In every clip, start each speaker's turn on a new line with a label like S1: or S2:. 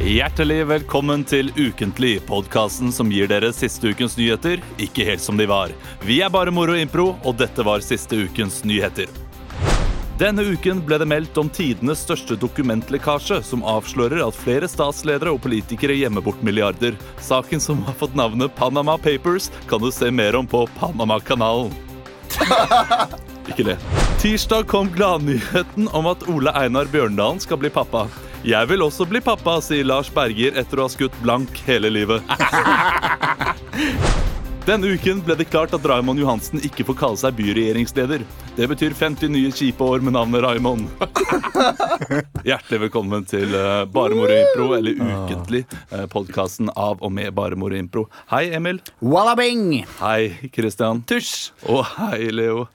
S1: Hjertelig velkommen til Ukentlig, podkasten som gir dere siste ukens nyheter, ikke helt som de var. Vi er bare moro impro, og dette var siste ukens nyheter. Denne uken ble det meldt om tidenes største dokumentlekkasje, som avslører at flere statsledere og politikere gjemmer bort milliarder. Saken som har fått navnet Panama Papers, kan du se mer om på Panamakanalen. Ikke det. Tirsdag kom gladnyheten om at Ole Einar Bjørndalen skal bli pappa. Jeg vil også bli pappa, sier Lars Berger etter å ha skutt blank hele livet. Denne uken ble det klart at Raymond Johansen ikke får kalle seg byregjeringsleder. Det betyr 50 nye kjipe år med navnet Raymond. Hjertelig velkommen til eh, Bare Moro Impro, eller Ukentlig, eh, podkasten av og med Bare Moro Impro. Hei, Emil.
S2: Wallabing!
S1: Hei, Christian. Tusj! Og hei, Leo.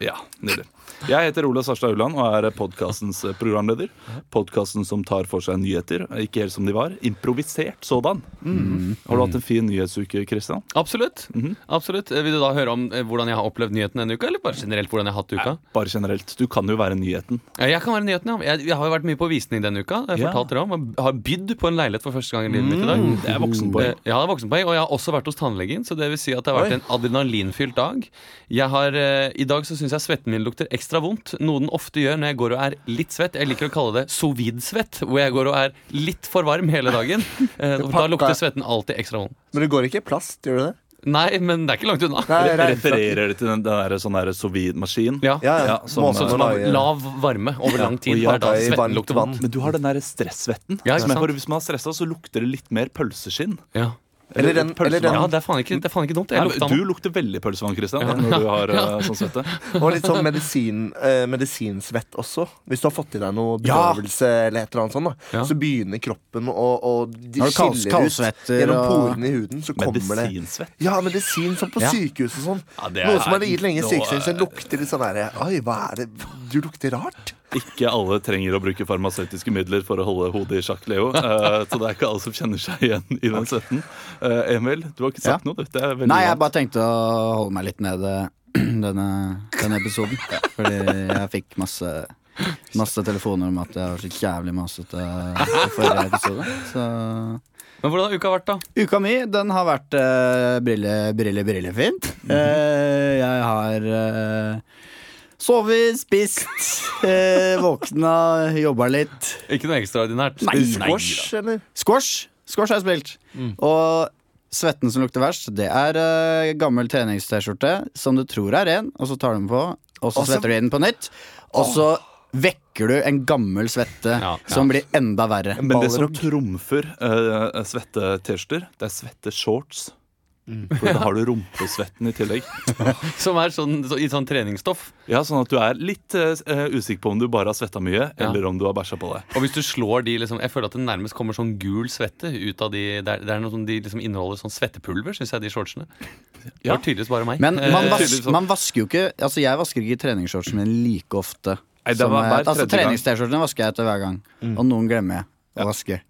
S1: Ja, nydelig. Jeg heter Ola Sarstad Ulland og er podkastens programleder. Podkasten som tar for seg nyheter, ikke helt som de var. Improvisert sådan.
S3: Mm.
S1: Har du hatt en fin nyhetsuke, Christian?
S3: Absolutt.
S2: Mhm.
S3: Absolutt. Eh, Vil du da høre om eh, hvordan jeg har opplevd nyheten denne uka? Eller bare generelt hvordan jeg har hatt uka?
S1: Bare generelt. Du kan jo være nyheten.
S3: Eh, Jeg kan være nyheten, ja. Jeg, jeg har jo vært mye på visning denne uka. Jeg
S1: Ja.
S3: fortalte dere om Jeg har bydd på en leilighet for første gang i livet mitt i dag.
S2: Mm.
S1: Det er voksenpoeng.
S3: Eh, Ja, det er voksenpoeng, og jeg har også vært hos tannlegen. Så det vil si at det har vært en adrenalinfylt dag. Jeg har, eh, I dag så syns jeg svetten min lukter ekstra vondt, noe den ofte gjør når jeg går og er litt svett. Jeg liker å kalle det sovid-svett, hvor jeg går og er litt for varm hele dagen. Eh, og Da
S2: Pakka-
S3: lukter svetten alltid ekstra vondt.
S2: Men det går ikke i plast, gjør det det?
S3: Nei, men det er ikke langt unna.
S2: Nei, regnflak.
S1: Refererer det til den den der sånn der sovidmaskin?
S3: Ja.
S2: Ja, ja.
S1: Ja, som-
S2: Måsen
S3: Sånn
S1: Sånn
S3: som
S2: å
S3: har
S2: lage-
S3: lav varme over lang tid.
S1: og
S3: Det er da
S2: jage i varmt
S3: svetten lukter
S2: vann.
S3: vondt.
S1: Men du har den der stressvetten.
S3: Ja, ikke
S1: som jeg
S3: sant.
S1: får hvis man er stressa, så lukter det litt mer pølseskinn.
S3: Ja.
S2: Eller den, eller den
S3: ja, det er faen ikke, det er faen ikke dumt. Jeg
S1: Nei,
S3: lukta
S1: men du
S3: den.
S1: lukter veldig pølsevann, Christian, når du har eh, sånn svette.
S2: Og litt sånn medisin, eh, medisinsvett også. Hvis du har fått i deg noe bedøvelse eller et eller annet sånt, da,
S3: Ja.
S2: så begynner kroppen å, å de
S4: Har du kals-
S2: skille ut
S4: kaldsvetter
S2: gjennom
S4: og-
S2: porene i huden. Så kommer det
S1: Medisinsvett.
S2: ja, medisin sånn på sykehus og sånn.
S1: Ja, det
S2: Noe som
S1: er
S2: er gitt lenge i
S1: noe-
S2: sykehuset, så lukter litt sånn derre Oi, hva er det Du lukter rart.
S1: Ikke alle trenger å bruke farmasøytiske midler for å holde hodet i sjakk, Leo. Eh, så det er ikke alle som kjenner seg igjen i den svetten. Eh, Emil, du har ikke sagt
S4: Ja.
S1: noe, du. Det er veldig
S4: Nei, jeg
S1: vant.
S4: bare tenkte å holde meg litt nede denne, denne episoden. Fordi jeg fikk masse, masse telefoner om at jeg var så jævlig masete i forrige episode. Så
S3: Men hvordan har uka vært, da?
S4: Uka mi den har vært eh, brille, brille, brillefint. Eh, jeg har eh, sovet, spist, eh, våkna, jobba litt.
S3: Ikke noe ekstraordinært.
S4: Nei, nei.
S2: Squash, eller?
S4: Squash Squash har jeg spilt.
S1: Mm.
S4: Og svetten som lukter verst, det er eh, gammel trenings-T-skjorte som du tror er ren, og så tar du den på, og så
S2: Og så-
S4: svetter du i den på nytt. Og så vekker du en gammel svette
S3: Ja,
S4: som blir enda verre.
S1: Men det som trumfer uh, svette T-skjorter, det er svette shorts. For da har du rumpesvetten i tillegg.
S3: Som er sånn, så, i sånn treningsstoff.
S1: Ja, Sånn at du er litt eh, eh, usikker på om du bare har svetta mye, eller om du har bæsja på deg.
S3: Og hvis du slår de liksom Jeg føler at det nærmest kommer sånn gul svette ut av de Det er, det er noe som de liksom inneholder sånn svettepulver, syns jeg, de shortsene. Det var tydeligvis bare meg.
S4: Men man,
S3: Eh,
S4: vas
S1: tydeligvis sånn.
S4: man vasker jo ikke Altså Jeg vasker ikke treningsshortsen min like ofte.
S1: Nei, det
S4: som
S1: var
S4: jeg-
S1: hver
S4: altså
S1: tredje gang. Mm.
S4: Trenings-T-skjortene vasker jeg etter hver gang, og noen glemmer jeg å vaske.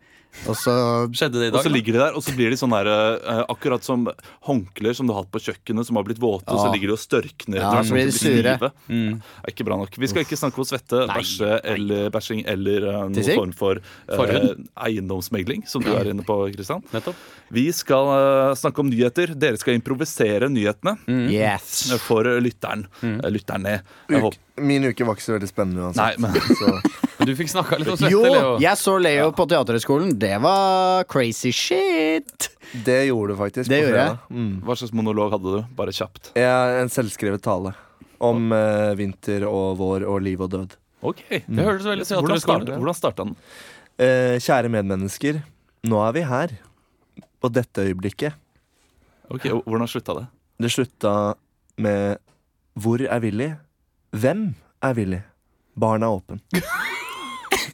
S4: Og så
S3: Skjedde det i
S1: Og
S3: dag?
S1: så
S3: da?
S1: ligger de der, og så blir de sånn der eh, Akkurat som håndklær som du har hatt på kjøkkenet, som har blitt våte, og så
S4: Ja.
S1: ligger de og størkner.
S4: Ja,
S1: etter hvert, sånn
S4: så
S1: at
S4: blir de sure.
S1: stive. Det er ikke bra nok. Vi skal ikke snakke om svette, bæsje eller bæsjing eller eh, noen
S4: Tissing?
S1: form for eh,
S3: Forhud?
S1: eiendomsmegling, som du er inne på, Kristian.
S3: Nettopp.
S1: Vi skal eh, snakke om nyheter. Dere skal improvisere nyhetene
S4: Mm. yes!
S1: for lytteren. Eh, Lytterne. Jeg
S2: Uk
S1: håper
S2: Min uke var ikke så veldig spennende
S1: Nei,
S2: uansett.
S1: men
S2: Så.
S3: Men Du fikk snakka litt om svette,
S4: Jo,
S3: Leo.
S4: jeg så Leo på Teaterhøgskolen. Det var crazy shit!
S2: Det gjorde du faktisk.
S4: Det
S2: på
S4: gjorde
S2: fredag.
S4: jeg.
S2: Mm.
S1: hva slags monolog hadde du? Bare kjapt.
S2: Jeg har en selvskrevet tale om eh, vinter og vår og liv og død.
S1: Ok, det høres veldig
S2: Hvordan
S1: teatrisk
S2: startet
S1: ut.
S2: det?
S1: Hvordan starta den?
S2: Eh, kjære medmennesker, nå er vi her. På dette øyeblikket.
S1: Ok, og Hvordan slutta det?
S2: Det slutta med Hvor er Willy? Hvem er Willy? Baren er åpen.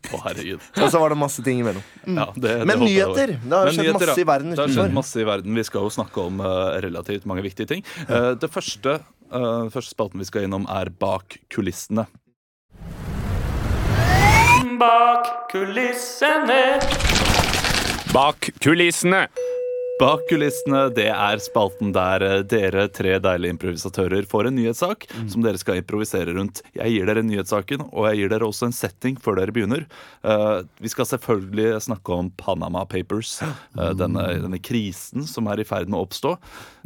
S1: Å, herregud.
S2: Og så var det masse ting imellom.
S1: Ja, det, det
S2: Mm. Men
S1: håper jeg det var.
S2: nyheter! Det har
S1: Men
S2: skjedd
S1: nyheter,
S2: masse
S1: ja.
S2: i verden
S1: Det har skjedd
S2: utenfor.
S1: masse i verden. Vi skal jo snakke om eh, relativt mange viktige ting. Eh, det første, eh, første spalten vi skal innom, er Bak kulissene.
S5: Bak kulissene.
S1: Bak kulissene, det er spalten der eh, dere tre deilige improvisatører får en nyhetssak
S2: Mm.
S1: som dere skal improvisere rundt. Jeg gir dere nyhetssaken, og jeg gir dere også en setting før dere begynner. Eh, vi skal selvfølgelig snakke om Panama Papers, eh, denne, denne krisen som er i ferd med å oppstå.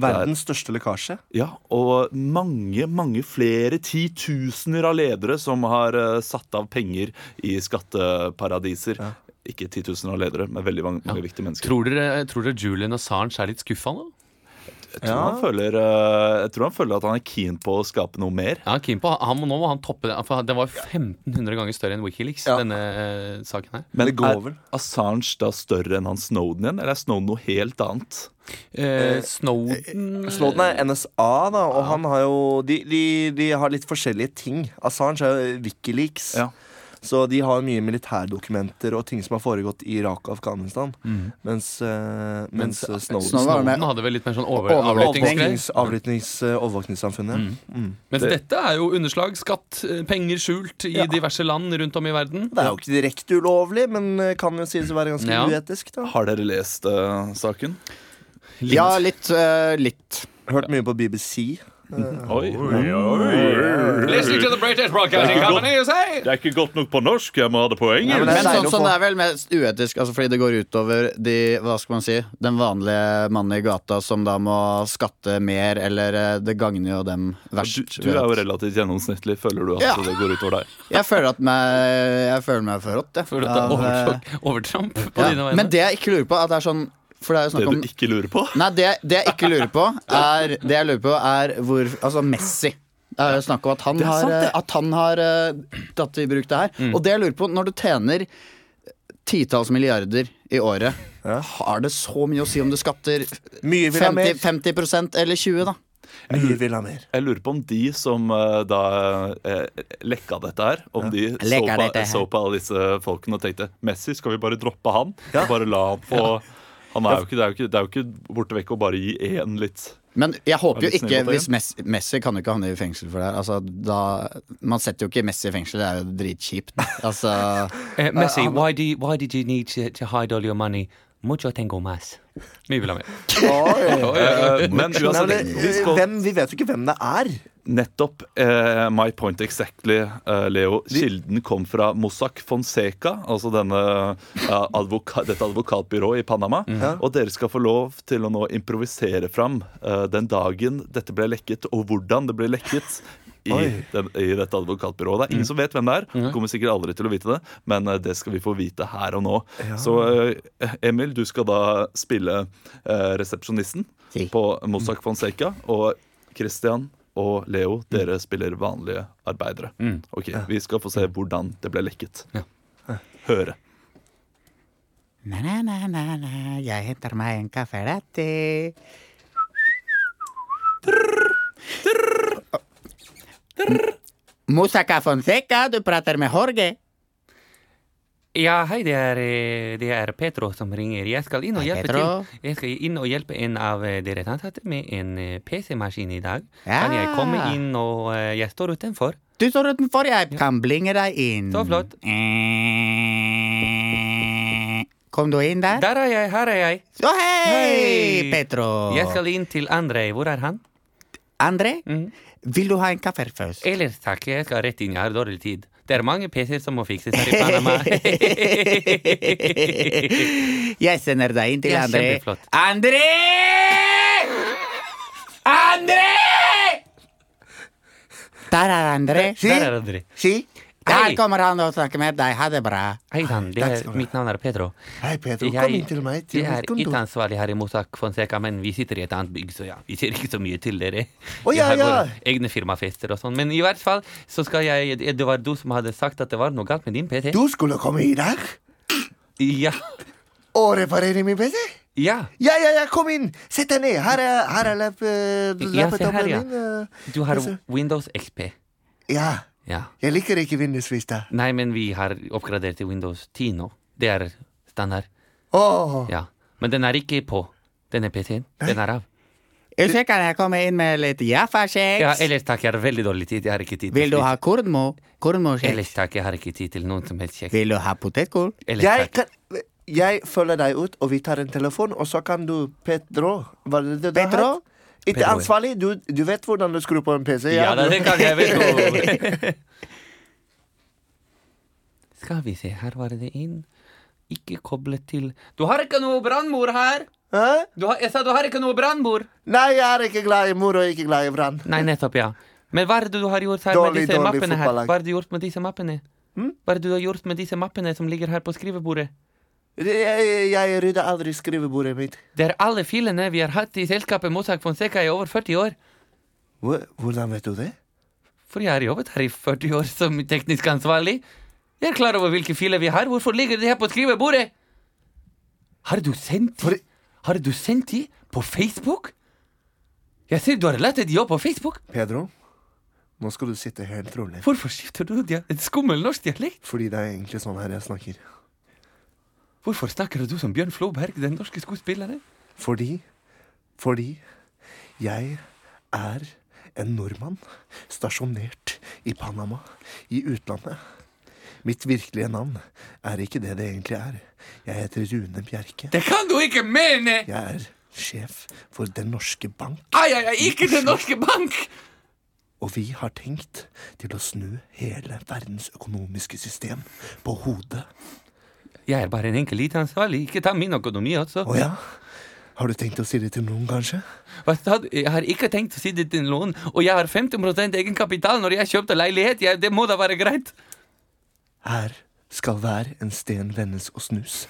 S2: Verdens største lekkasje.
S1: Ja, og mange, mange flere titusener av ledere som har eh, satt av penger i skatteparadiser. Ikke titusener av ledere, men veldig mange, mange viktige mennesker.
S3: Tror dere, tror dere Julian Assange er litt skuffa nå?
S1: Jeg, tror han føler, eh, jeg tror han føler at han er keen på å skape noe mer.
S3: Ja, Kim på, han, må- nå må han toppe det. For den var 1500 ganger større enn Wikileaks,
S2: Ja.
S3: denne eh, saken her.
S2: Men det går
S1: er
S2: vel.
S1: Assange da større enn han Snowden igjen, eller er Snowden noe helt annet?
S3: Eh, Snowden
S2: Snowden er NSA, da, og han har jo de, de, de har litt forskjellige ting. Assange er jo Wikileaks.
S1: Ja.
S2: Så de har mye militærdokumenter og ting som har foregått i Irak og Afghanistan. Mens, eh, mens, eh, Snowden
S4: Snowden var med.
S3: Snowden hadde vel litt mer sånn over, avlyttingsgreier.
S2: Overvåknings- avlyttings- eh, Overvåkningssamfunnet.
S3: Mens dette er jo underslag, skatt, eh, penger skjult i diverse land rundt om i verden.
S2: Det er jo ikke direkte ulovlig, men eh, kan jo sies å være ganske
S3: Ja.
S2: uetisk. da
S1: Har dere lest eh, saken?
S4: Ja, litt. eh, litt.
S2: Hørt mye på BBC.
S1: Eh, Oi.
S3: Listening to the British Broadcasting Company, you say?
S1: Det er ikke godt nok på norsk, jeg må ha det på
S4: Ja, men
S2: det er
S4: sånn,
S2: deilig å
S4: sånn
S2: få.
S4: er vel mest uetisk, altså fordi det går utover de, hva skal man si, den vanlige mannen i gata som da må skatte mer, eller eh, det gagner jo dem
S1: Du,
S4: verst.
S1: du er jo
S4: vet.
S1: relativt gjennomsnittlig. Føler du at
S4: Ja.
S1: det går utover deg?
S4: Jeg føler, at meg, jeg føler meg forrådt, jeg.
S3: For
S4: Av,
S3: dette er overtramp- overtramp på
S4: eh,
S3: dine
S4: ja.
S3: vegne.
S4: Men det jeg ikke lurer på, at det er sånn For det er jo
S1: Det
S4: snakk om
S1: du ikke lurer på?
S4: Nei, det, det jeg ikke lurer på, er Det jeg lurer på, er hvor Altså, Messi. Det er jo snakk om at han har, eh, at han har eh, tatt i bruk det her. Og det jeg lurer på, når du tjener titalls milliarder i året, har det så mye å si om du skatter
S2: Mye vil ha
S4: 50,
S2: mer.
S4: 50 eller 20 da?
S2: Mye vil ha mer.
S1: Jeg lurer på om de som eh, da eh, lekka dette her, om de så
S4: Lekka
S1: på,
S4: dette her.
S1: så på alle disse folkene og tenkte Messi, skal vi bare droppe han?
S2: Ja.
S1: Og bare la han få han er jo ikke, Det er jo ikke, det er jo ikke borte vekk å bare gi én litt
S4: Men jeg håper
S1: Er
S4: jo
S1: det
S4: ikke
S1: snill å ta
S4: hvis Messi, Messi kan jo ikke havne i fengsel for det her. Altså, da, man setter jo ikke Messi i fengsel, det er jo dritkjipt. Altså,
S6: Uh, Messi, why, do you, why did you need to, to hide all your money? Mucho tengo más.
S3: Mye vil ha mer.
S1: Eh, Men
S2: Nei, men
S1: uansett,
S2: det,
S1: vi skal
S2: hvem, vi vet jo ikke hvem det er.
S1: Nettopp eh, my point exactly, eh, Leo. Kilden kom fra Mossack Fonseca, altså denne, eh, advoka dette advokatbyrået i Panama. Og dere skal få lov til å nå improvisere fram eh, den dagen dette ble lekket, og hvordan det ble lekket. I,
S2: Oi.
S1: den, I dette advokatbyrået. Det er ingen som vet hvem det er. Kommer sikkert aldri til å vite det, men eh, det skal vi få vite her og nå. Så eh, Emil, du skal da spille eh, resepsjonisten
S4: Si.
S1: på Mossack Fonseca. Og Christian og Leo, dere spiller vanlige arbeidere. Ok, Vi skal få se hvordan det ble lekket. Høre.
S6: Na, na, na, na, na. Jeg henter meg en caffè latte.
S4: Moussa Fonseca, du prater med Jorge.
S6: Ja, hei, det er, eh, det er Petro som ringer. Jeg skal inn og
S4: Hei,
S6: hjelpe
S4: Petro.
S6: til. Jeg skal inn og hjelpe en av eh, deres ansatte med en eh, PC-maskin i dag.
S4: Ja.
S6: Kan jeg komme inn, og eh, jeg står utenfor.
S4: Du står utenfor, jeg kan blinge deg inn.
S6: Så flott.
S4: Eh. Kom du inn der?
S6: Der er jeg, her er jeg.
S4: Å, hei!
S6: Hei!
S4: Oh, Petro.
S6: Jeg skal inn til Andrei. Hvor er han?
S4: André,
S6: Mhm.
S4: vil du ha en kaffe først?
S6: Ellers takk, jeg skal rett inn. Jeg har dårlig tid. Det er mange PC-er som må fikses her i Panama.
S4: jeg sender deg inn til
S6: Ja,
S4: André.
S6: kjempeflott.
S4: André! André! Der er André.
S6: Der er André.
S2: Si?
S6: Der kommer han og snakker med deg. Ha det bra.
S3: Hei sann, det er-
S2: Dagsnytt.
S3: mitt navn er Pedro.
S2: Hei, Pedro.
S3: Jeg-
S2: Kom inn til meg. Til
S3: jeg er
S2: mitt kontor.
S3: ikke ansvarlig her i Mottak Fonseca, men vi sitter i et annet bygg, så ja, vi ser ikke så mye til dere.
S2: Å,
S3: Vi
S2: ja,
S3: har
S2: ja.
S3: våre egne firmafester og sånn. Men i hvert fall så skal jeg Det var du som hadde sagt at det var noe galt med din PC.
S2: Du skulle komme i dag
S3: Ja.
S2: og reparere min PC.
S3: Ja.
S2: Ja, ja, ja, kom inn! Sett deg ned. Her er, her er lap, eh,
S3: Ja, se her,
S2: laptopen
S3: ja.
S2: min. eh.
S3: Du har
S2: Altså-
S3: Windows XP.
S2: Ja.
S3: Ja.
S2: Jeg liker ikke Windows Vista.
S3: Nei, men vi har oppgradert til Windows 10 nå. Det er standard.
S2: Åh,
S3: Ja. Men den er ikke på, denne PC-en. Den er av.
S6: Unnskyld, kan jeg komme inn med litt
S3: Ja,
S6: Jaffa-kjeks?
S3: ellers takk, jeg har veldig dårlig tid. Jeg har ikke tid. til
S6: Vil du
S3: slikt.
S6: ha kornmo?
S3: Ellers
S6: Kornmokjeks?
S3: takk, jeg har ikke tid til noen som helst kjeks.
S6: Vil du ha potetgull?
S3: Ellers
S2: jeg,
S3: takk.
S2: kan, jeg følger deg ut, og vi tar en telefon, og så kan du Pedro Hva er det du
S6: Pedro?
S2: har? Ikke
S3: Pedro, ja.
S2: ansvarlig. Du, du vet hvordan du skrur på en PC?
S3: Ja, da,
S2: du-
S3: det kan jeg vel tro. Skal vi se, her var det inn. Ikke koblet til Du har ikke noe brannmor her!
S2: Hæ?
S3: Du har, jeg sa du har ikke noe brannmor!
S2: Nei, jeg er ikke glad i mor og ikke glad i brann.
S3: Nei, nettopp, ja. Men hva er det du har gjort her
S2: Dårlig,
S3: med disse
S2: dårlig
S3: mappene her?
S2: fotballag. Hm?
S3: Hva er det du har gjort med disse mappene? Hva er det du har gjort med disse mappene som ligger her på skrivebordet?
S2: Jeg, jeg rydder aldri skrivebordet mitt.
S3: Det er alle filene vi har hatt i selskapet Mossack Fonseca i over 40 år.
S2: Hvor- Hvordan vet du det?
S3: For jeg har jobbet her i 40 år som teknisk ansvarlig. Jeg er klar over hvilke filer vi har. Hvorfor ligger de her på skrivebordet? Har du sendt de? Har du sendt de på Facebook? Jeg ser du har latt de opp på Facebook.
S2: Pedro, nå skal du sitte helt rolig.
S3: Hvorfor skifter du dia- et skummel norsk dialekt?
S2: Fordi det er egentlig sånn her jeg snakker.
S3: Hvorfor snakker du som Bjørn Floberg, den norske skuespilleren?
S2: Fordi Fordi jeg er en nordmann stasjonert i Panama, i utlandet. Mitt virkelige navn er ikke det det egentlig er. Jeg heter Rune Bjerke.
S3: Det kan du ikke mene!
S2: Jeg er sjef for Den norske bank.
S3: Ai, ai, ai, ikke Den norske bank!
S2: Og vi har tenkt til å snu hele verdens økonomiske system på hodet.
S3: Jeg er bare en enkel lite ansvarlig. Ikke ta min økonomi altså. også.
S2: Å ja? Har du tenkt å si det til noen, kanskje?
S3: Hva sa du? Jeg har ikke tenkt å si det til noen, og jeg har 15 egenkapital når jeg kjøpte leilighet. Jeg, det må da være greit?
S2: Her skal hver en sten vendes og snus.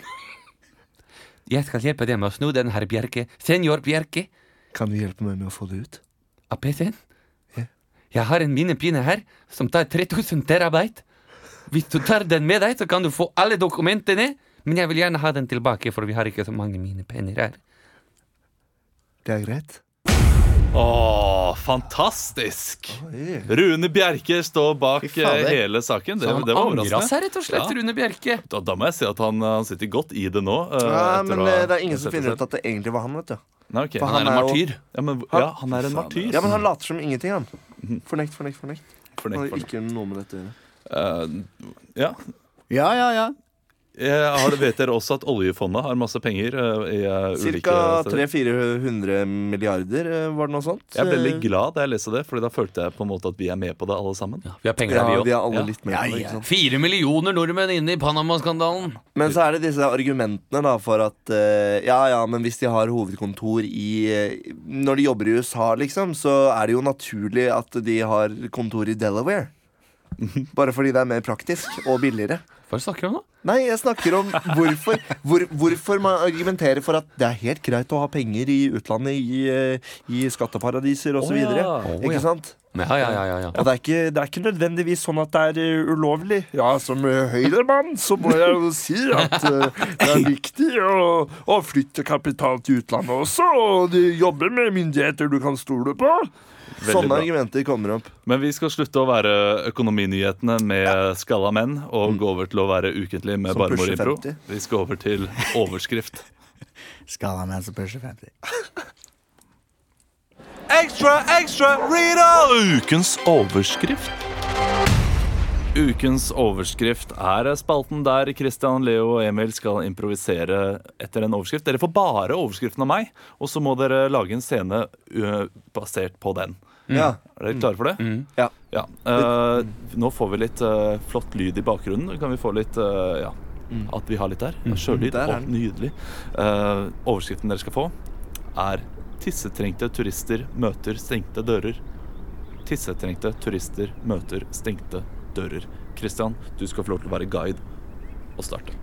S3: Jeg skal hjelpe deg med å snu den herr Bjerke. Senior Bjerke
S2: Kan du hjelpe meg med å få det ut?
S3: av PC-en. Jeg har en minnepinne her som tar 3000 terabyte. Hvis du tar den med deg, så kan du få alle dokumentene. Men jeg vil gjerne ha den tilbake, for vi har ikke så mange minnepenner her.
S2: Det er greit?
S1: Åh, fantastisk! Rune Bjerke står bak
S4: Fy fader.
S1: eh, hele saken. Det,
S3: Så han
S1: det var
S3: angra
S1: overraskende.
S3: seg rett og slett,
S1: Ja.
S3: Rune Bjerke.
S1: Da, da må jeg si at han, eh, han sitter godt i det nå. eh,
S2: Ja,
S1: etter
S2: men
S1: å ha
S2: eh, det er ingen som
S1: sett
S2: finner ut
S1: det
S2: at det egentlig var han, vet du.
S1: selv. Nei, ok.
S2: for
S1: han
S2: han
S1: er en
S2: er jo-
S1: martyr. Ja, men, ja, han er en martyr.
S2: Ja, men han later som ingenting, han. Fornekt, fornekt, fornekt.
S1: Fornekt,
S2: Han har
S1: fornekt.
S2: ikke noe med dette å gjøre.
S1: Eh, ja.
S4: Ja, ja, ja.
S1: Jeg har, vet dere også at oljefondet har masse penger? eh, i eh, ulike
S2: Cirka
S1: steder?
S2: 300-400 milliarder, eh, var det noe sånt? Eh,
S1: Jeg ble litt glad da jeg leste det, Fordi da følte jeg på en måte at vi er med på det, alle sammen.
S3: Vi har penger,
S2: Ja,
S3: vi
S2: vi
S3: òg.
S2: er alle
S1: Ja.
S2: litt med på det, ikke sant?
S3: Fire millioner nordmenn inne i Panama-skandalen.
S2: Men så er det disse argumentene da for at eh, Ja, ja, men hvis de har hovedkontor i eh, Når de jobber i USA, liksom, så er det jo naturlig at de har kontor i Delaware. Bare fordi det er mer praktisk og billigere.
S3: Hva snakker du om nå?
S2: Nei, jeg snakker om hvorfor, hvor, hvorfor man argumenterer for at det er helt greit å ha penger i utlandet, i, eh, i skatteparadiser osv.
S1: Å ja.
S2: videre
S1: Å
S2: Ikke sant?
S3: Ja, ja, ja, ja, ja.
S2: Og det er, ikke, det er ikke nødvendigvis sånn at det er eh, ulovlig. Ja, som eh, høyremann så må jeg jo si at eh, det er viktig å, å flytte kapital til utlandet også, og de jobber med myndigheter du kan stole på.
S1: Veldig bra.
S2: argumenter kommer opp.
S1: Men vi skal slutte å være Økonominyhetene med skalla menn og gå over til å være ukentlig med
S2: Som
S1: Barmor
S2: pusher
S1: Impro.
S2: 50.
S1: Vi skal over til overskrift.
S4: Skal ha med som pusher 50.
S1: Ekstra, ekstra, Rita! Ukens overskrift. Ukens overskrift er spalten der Christian, Leo og Emil skal improvisere etter en overskrift. Dere får bare overskriften av meg, og så må dere lage en scene ø, basert på den.
S2: Ja.
S1: Er dere klare for det?
S2: Mm. Ja.
S1: Ja.
S2: Mm.
S1: eh, nå får vi litt eh, flott lyd i bakgrunnen. Kan vi få litt eh, ja, At vi har litt der. Sjølyd.
S2: Mm. Der er
S1: Å, nydelig. Eh, overskriften dere skal få, er 'Tissetrengte turister møter stengte dører'. Tissetrengte turister møter stengte dører. Christian, du skal få lov til å være guide og starte.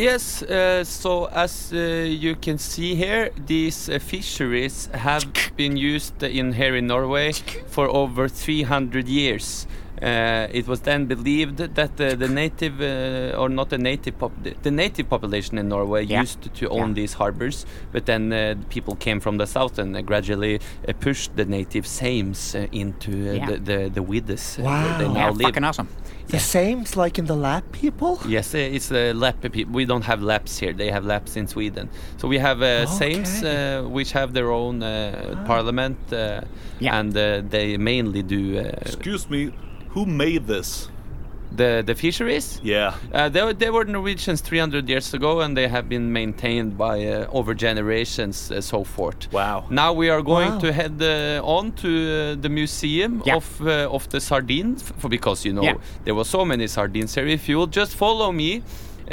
S3: Yes, uh, so as uh, you can see here, these uh, fisheries have been used in here in Norway for over 300 years. Uh, it was then believed that uh, the native, uh, or not the native, pop- the native population in Norway
S4: Yeah.
S3: used to own
S4: Yeah.
S3: these harbors, but then uh, people came from the south and uh, gradually uh, pushed the native Sames uh, into uh,
S4: Yeah.
S3: the, the, the Widdes. uh,
S5: Wow.
S3: where They now
S4: Yeah,
S3: live.
S4: fucking awesome.
S5: The same's like in the lab people?
S3: Yes, uh, it's uh, lap people. We don't have laps here. They have laps in Sweden. So we have uh, Sames, uh, which have their own uh,
S1: Ah.
S3: parliament, uh,
S4: Yeah.
S3: and uh, they mainly do uh,
S1: Excuse me, who made this?
S3: the the fisheries.
S1: Yeah.
S3: Uh, they, were- they were Norwegians 300 years ago, and they have been maintained by uh, over generations, uh, so forth.
S1: Wow.
S3: Now we are going
S5: Wow.
S3: to head uh, on to uh, the museum
S4: Yeah.
S3: of uh, of the sardines, f- for because you know
S4: Yeah.
S3: there were so many sardines here. If you will just follow me,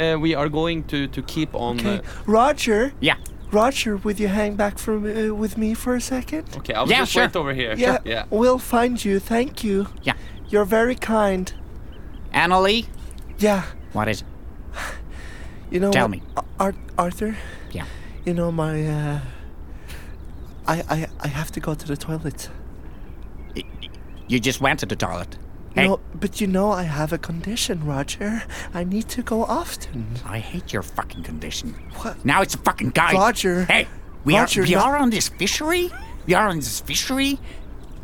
S3: uh, we are going to to keep on. uh,
S5: Okay. Roger,
S4: Yeah.
S5: Roger, would you hang back from, uh, with me for a second?
S3: okay, I'll
S4: Yeah,
S3: just
S4: sure.
S3: wait over here.
S5: Yeah,
S3: yeah.
S5: we'll find you. Thank you.
S4: Yeah.
S5: You're very kind.
S4: Annalie,
S5: Yeah,
S4: what is it?
S5: you know
S4: Tell
S5: what,
S4: me.
S5: Ar- Arthur,
S4: Yeah.
S5: you know my. Uh, I, I I have to go to the toilet.
S4: You just went to the toilet. Hey,
S5: No, but you know I have a condition, Roger. I need to go often.
S4: I hate your fucking condition.
S5: What?
S4: Now it's a fucking guy.
S5: Roger.
S4: Hey, we
S5: Roger,
S4: are we
S5: no-
S4: are on this fishery. We are on this fishery.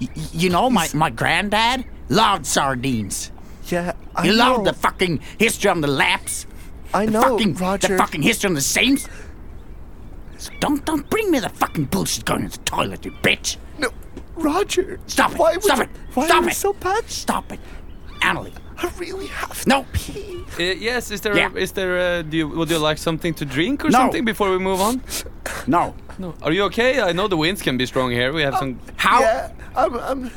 S4: Y- y- you know, my my granddad loved sardines.
S5: Yeah, I
S4: He
S5: know.
S4: loved the fucking history on the laps.
S5: I
S4: the
S5: know,
S4: fucking,
S5: Roger.
S4: The fucking history on the sames. So don't don't bring me the fucking bullshit going to the toilet, you bitch.
S5: no, Roger.
S4: Stop it,
S5: Why would
S4: stop
S5: you-
S4: it,
S5: Why
S4: stop
S5: are you
S4: it.
S5: so bad?
S4: Stop it, Annalie.
S5: I really have to
S4: No.
S5: pee.
S3: Uh, yes, is there?
S4: Yeah.
S3: is there? Uh, do you would you like something to drink or
S4: No.
S3: something before we move on?
S4: No.
S3: No. Are you okay? I know the winds can be strong here. We
S4: Oh.
S3: have some.
S4: How?
S5: Yeah, I'm, I'm,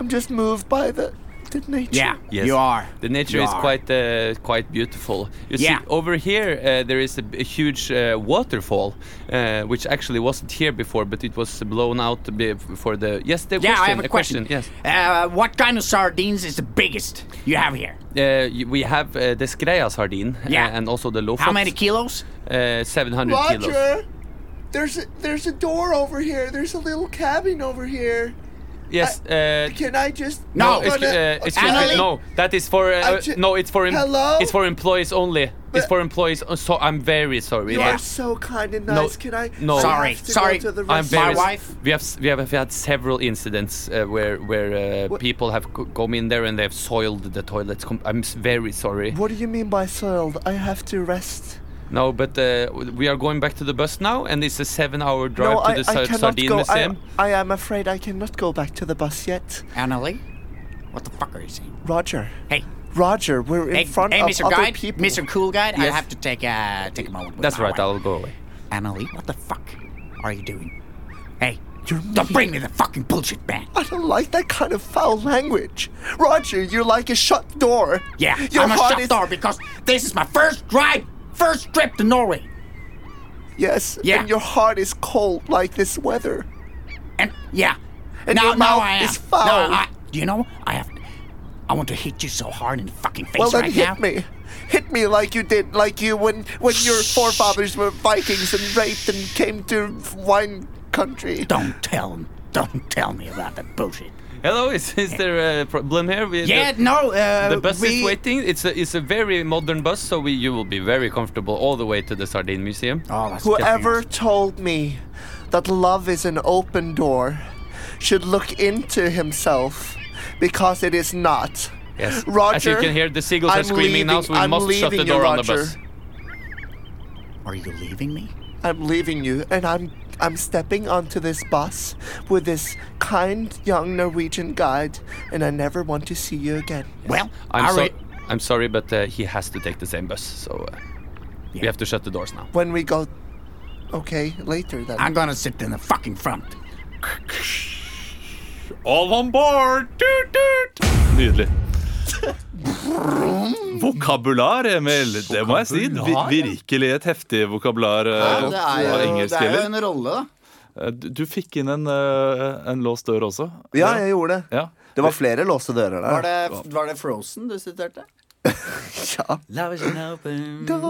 S5: I'm just moved by the, the nature.
S4: Yeah,
S3: Yes.
S4: you are.
S3: The nature
S4: You
S3: is
S4: are.
S3: quite uh, quite beautiful. You see,
S4: Yeah.
S3: over here uh, there is a, b- a huge uh, waterfall, uh, which actually wasn't here before, but it was blown out be- for the. Yes, the
S4: Yeah,
S3: question,
S4: I have a question.
S3: Yes,
S4: Uh, what kind of sardines is the biggest you have here?
S3: uh, y- we have uh, the skreia sardine uh,
S4: Yeah.
S3: and also the lofoten.
S4: How many kilos?
S3: Uh, Seven hundred kilos.
S5: Roger, there's a, there's a door over here. There's a little cabin over here.
S3: Yes. uh,
S5: Can I just?
S4: No,
S5: I'm
S4: it's-
S3: Excuse,
S5: gonna-
S3: uh, excuse me.
S4: Annalie?
S3: No, that is for uh,
S5: I ju-
S3: no. It's for em-
S5: Hello?
S3: It's for employees only. it's
S5: But-
S3: for employees. uh, So I'm very sorry.
S5: You
S4: Yeah.
S5: are so kind and nice. Can I?
S3: no.
S5: I have
S4: Sorry,
S5: to go
S4: sorry.
S5: to the
S3: I'm
S5: restroom.
S3: very
S4: My
S3: s-
S4: wife-
S3: We have s- we have, we had several incidents uh, where where uh,
S5: What-
S3: people have c- come in there and they have soiled the toilets. Com- I'm s- very sorry.
S5: What do you mean by soiled? I have to rest.
S3: No, but uh, we are going back to the bus now, and it's a seven-hour drive
S5: no,
S3: to
S5: I,
S3: the
S5: I
S3: Sa-
S5: cannot
S3: sardine
S5: go. I,
S3: museum.
S5: I am afraid I cannot go back to the bus yet.
S4: Annalie? What the fuck are you saying?
S5: Roger,
S4: Hey,
S5: Roger, we're in
S4: hey,
S5: front
S4: hey,
S5: of
S4: Mr.
S5: other
S4: Guide,
S5: people.
S4: Mr. Cool Guide, I
S3: Yes.
S4: have to take uh, take a moment. With
S3: That's
S4: my
S3: right.
S5: Ah,
S4: wife.
S3: I'll go away.
S4: Annalie, what the fuck are you doing? Hey,
S5: You're
S4: don't
S5: mean.
S4: bring me the fucking bullshit, man.
S5: I don't like that kind of foul language. Roger, you're like a shut door.
S4: Yeah,
S5: Your
S4: I'm a
S5: heart
S4: shop
S5: is-
S4: door because this is my first drive, first trip to Norway,
S5: Yes,
S4: Yeah.
S5: and your heart is cold like this weather.
S4: and yeah,
S5: And
S4: now
S5: your
S4: now
S5: mouth
S4: I am.
S5: is foul.
S4: Now I, you know, I have. I want to hit you so hard in the fucking face
S5: well, then
S4: right
S5: hit
S4: now.
S5: me. Hit me like you did, like you when when your forefathers were Vikings and raped and came to wine country.
S4: Don't tell him. Don't tell me about that bullshit.
S3: Hello, is, is there a problem here? We-
S4: Yeah,
S3: the-
S4: no. Uh,
S3: The bus
S4: we,
S3: is waiting. It's a it's a very modern bus, so we you will be very comfortable all the way to the sardine museum.
S4: Oh, that's
S5: Whoever
S4: fucking
S5: told me that love is an open door should look into himself because it is not.
S3: Yes.
S5: Roger.
S3: As you can hear, the seagulls
S5: I'm
S3: are screaming now,
S5: leaving-
S3: so we
S5: I'm
S3: must shut the
S5: leaving you,
S3: door on the
S5: Roger.
S3: bus.
S4: awesome. Are you leaving me?
S5: I'm leaving you, and I'm I'm stepping onto this bus with this kind young Norwegian guide, and I never want to see you again.
S4: Well,
S3: I'm,
S4: all
S3: so-
S4: right.
S3: I'm sorry, but uh, he has to take the same bus, so uh, we
S4: Yeah.
S3: have to shut the doors now.
S5: When we go, okay, later then.
S4: I'm gonna sit in the fucking front.
S1: All on board! Tut, tut. Nydelig. Vokabular, Emil. Det må jeg si. Vi- Virkelig et heftig vokabular. eh,
S7: Det er
S1: av
S7: jo,
S1: engelsk
S7: det er jo
S1: eller?
S7: en rolle, da.
S1: Eh, Du du fikk inn en, eh, en låst dør også.
S5: ja, jeg gjorde det.
S1: Ja.
S2: Det var flere låste dører der.
S4: Var det, var det Frozen du siterte?
S2: Ja.
S4: Love is an open
S3: Men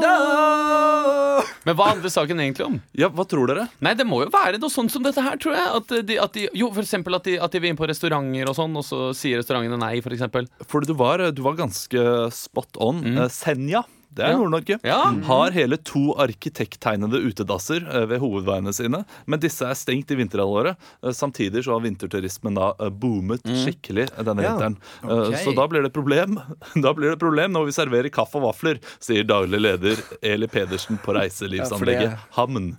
S3: hva handler saken egentlig om?
S1: Ja, hva tror dere?
S3: Nei, det må jo være noe sånt som dette her, tror jeg. At uh, de, at de, jo, for eksempel at de, at de vil inn på restauranter og sånn, og så sier restaurantene nei, for eksempel.
S1: Fordi du var, eh, du var ganske spot on. Eh, Senja. Det er
S3: Mm. Ja.
S1: Nord-Norge.
S3: Ja.
S1: Har hele to arkitekttegnede utedasser eh, ved hovedveiene sine. Men disse er stengt i vinterhalvåret. Eh, Samtidig så har vinterturismen da eh, boomet
S3: Mm.
S1: skikkelig denne vinteren. Eh, Så da blir det problem Da blir det problem når vi serverer kaffe og vafler, sier daglig leder Eli Pedersen på reiselivsanlegget Hamn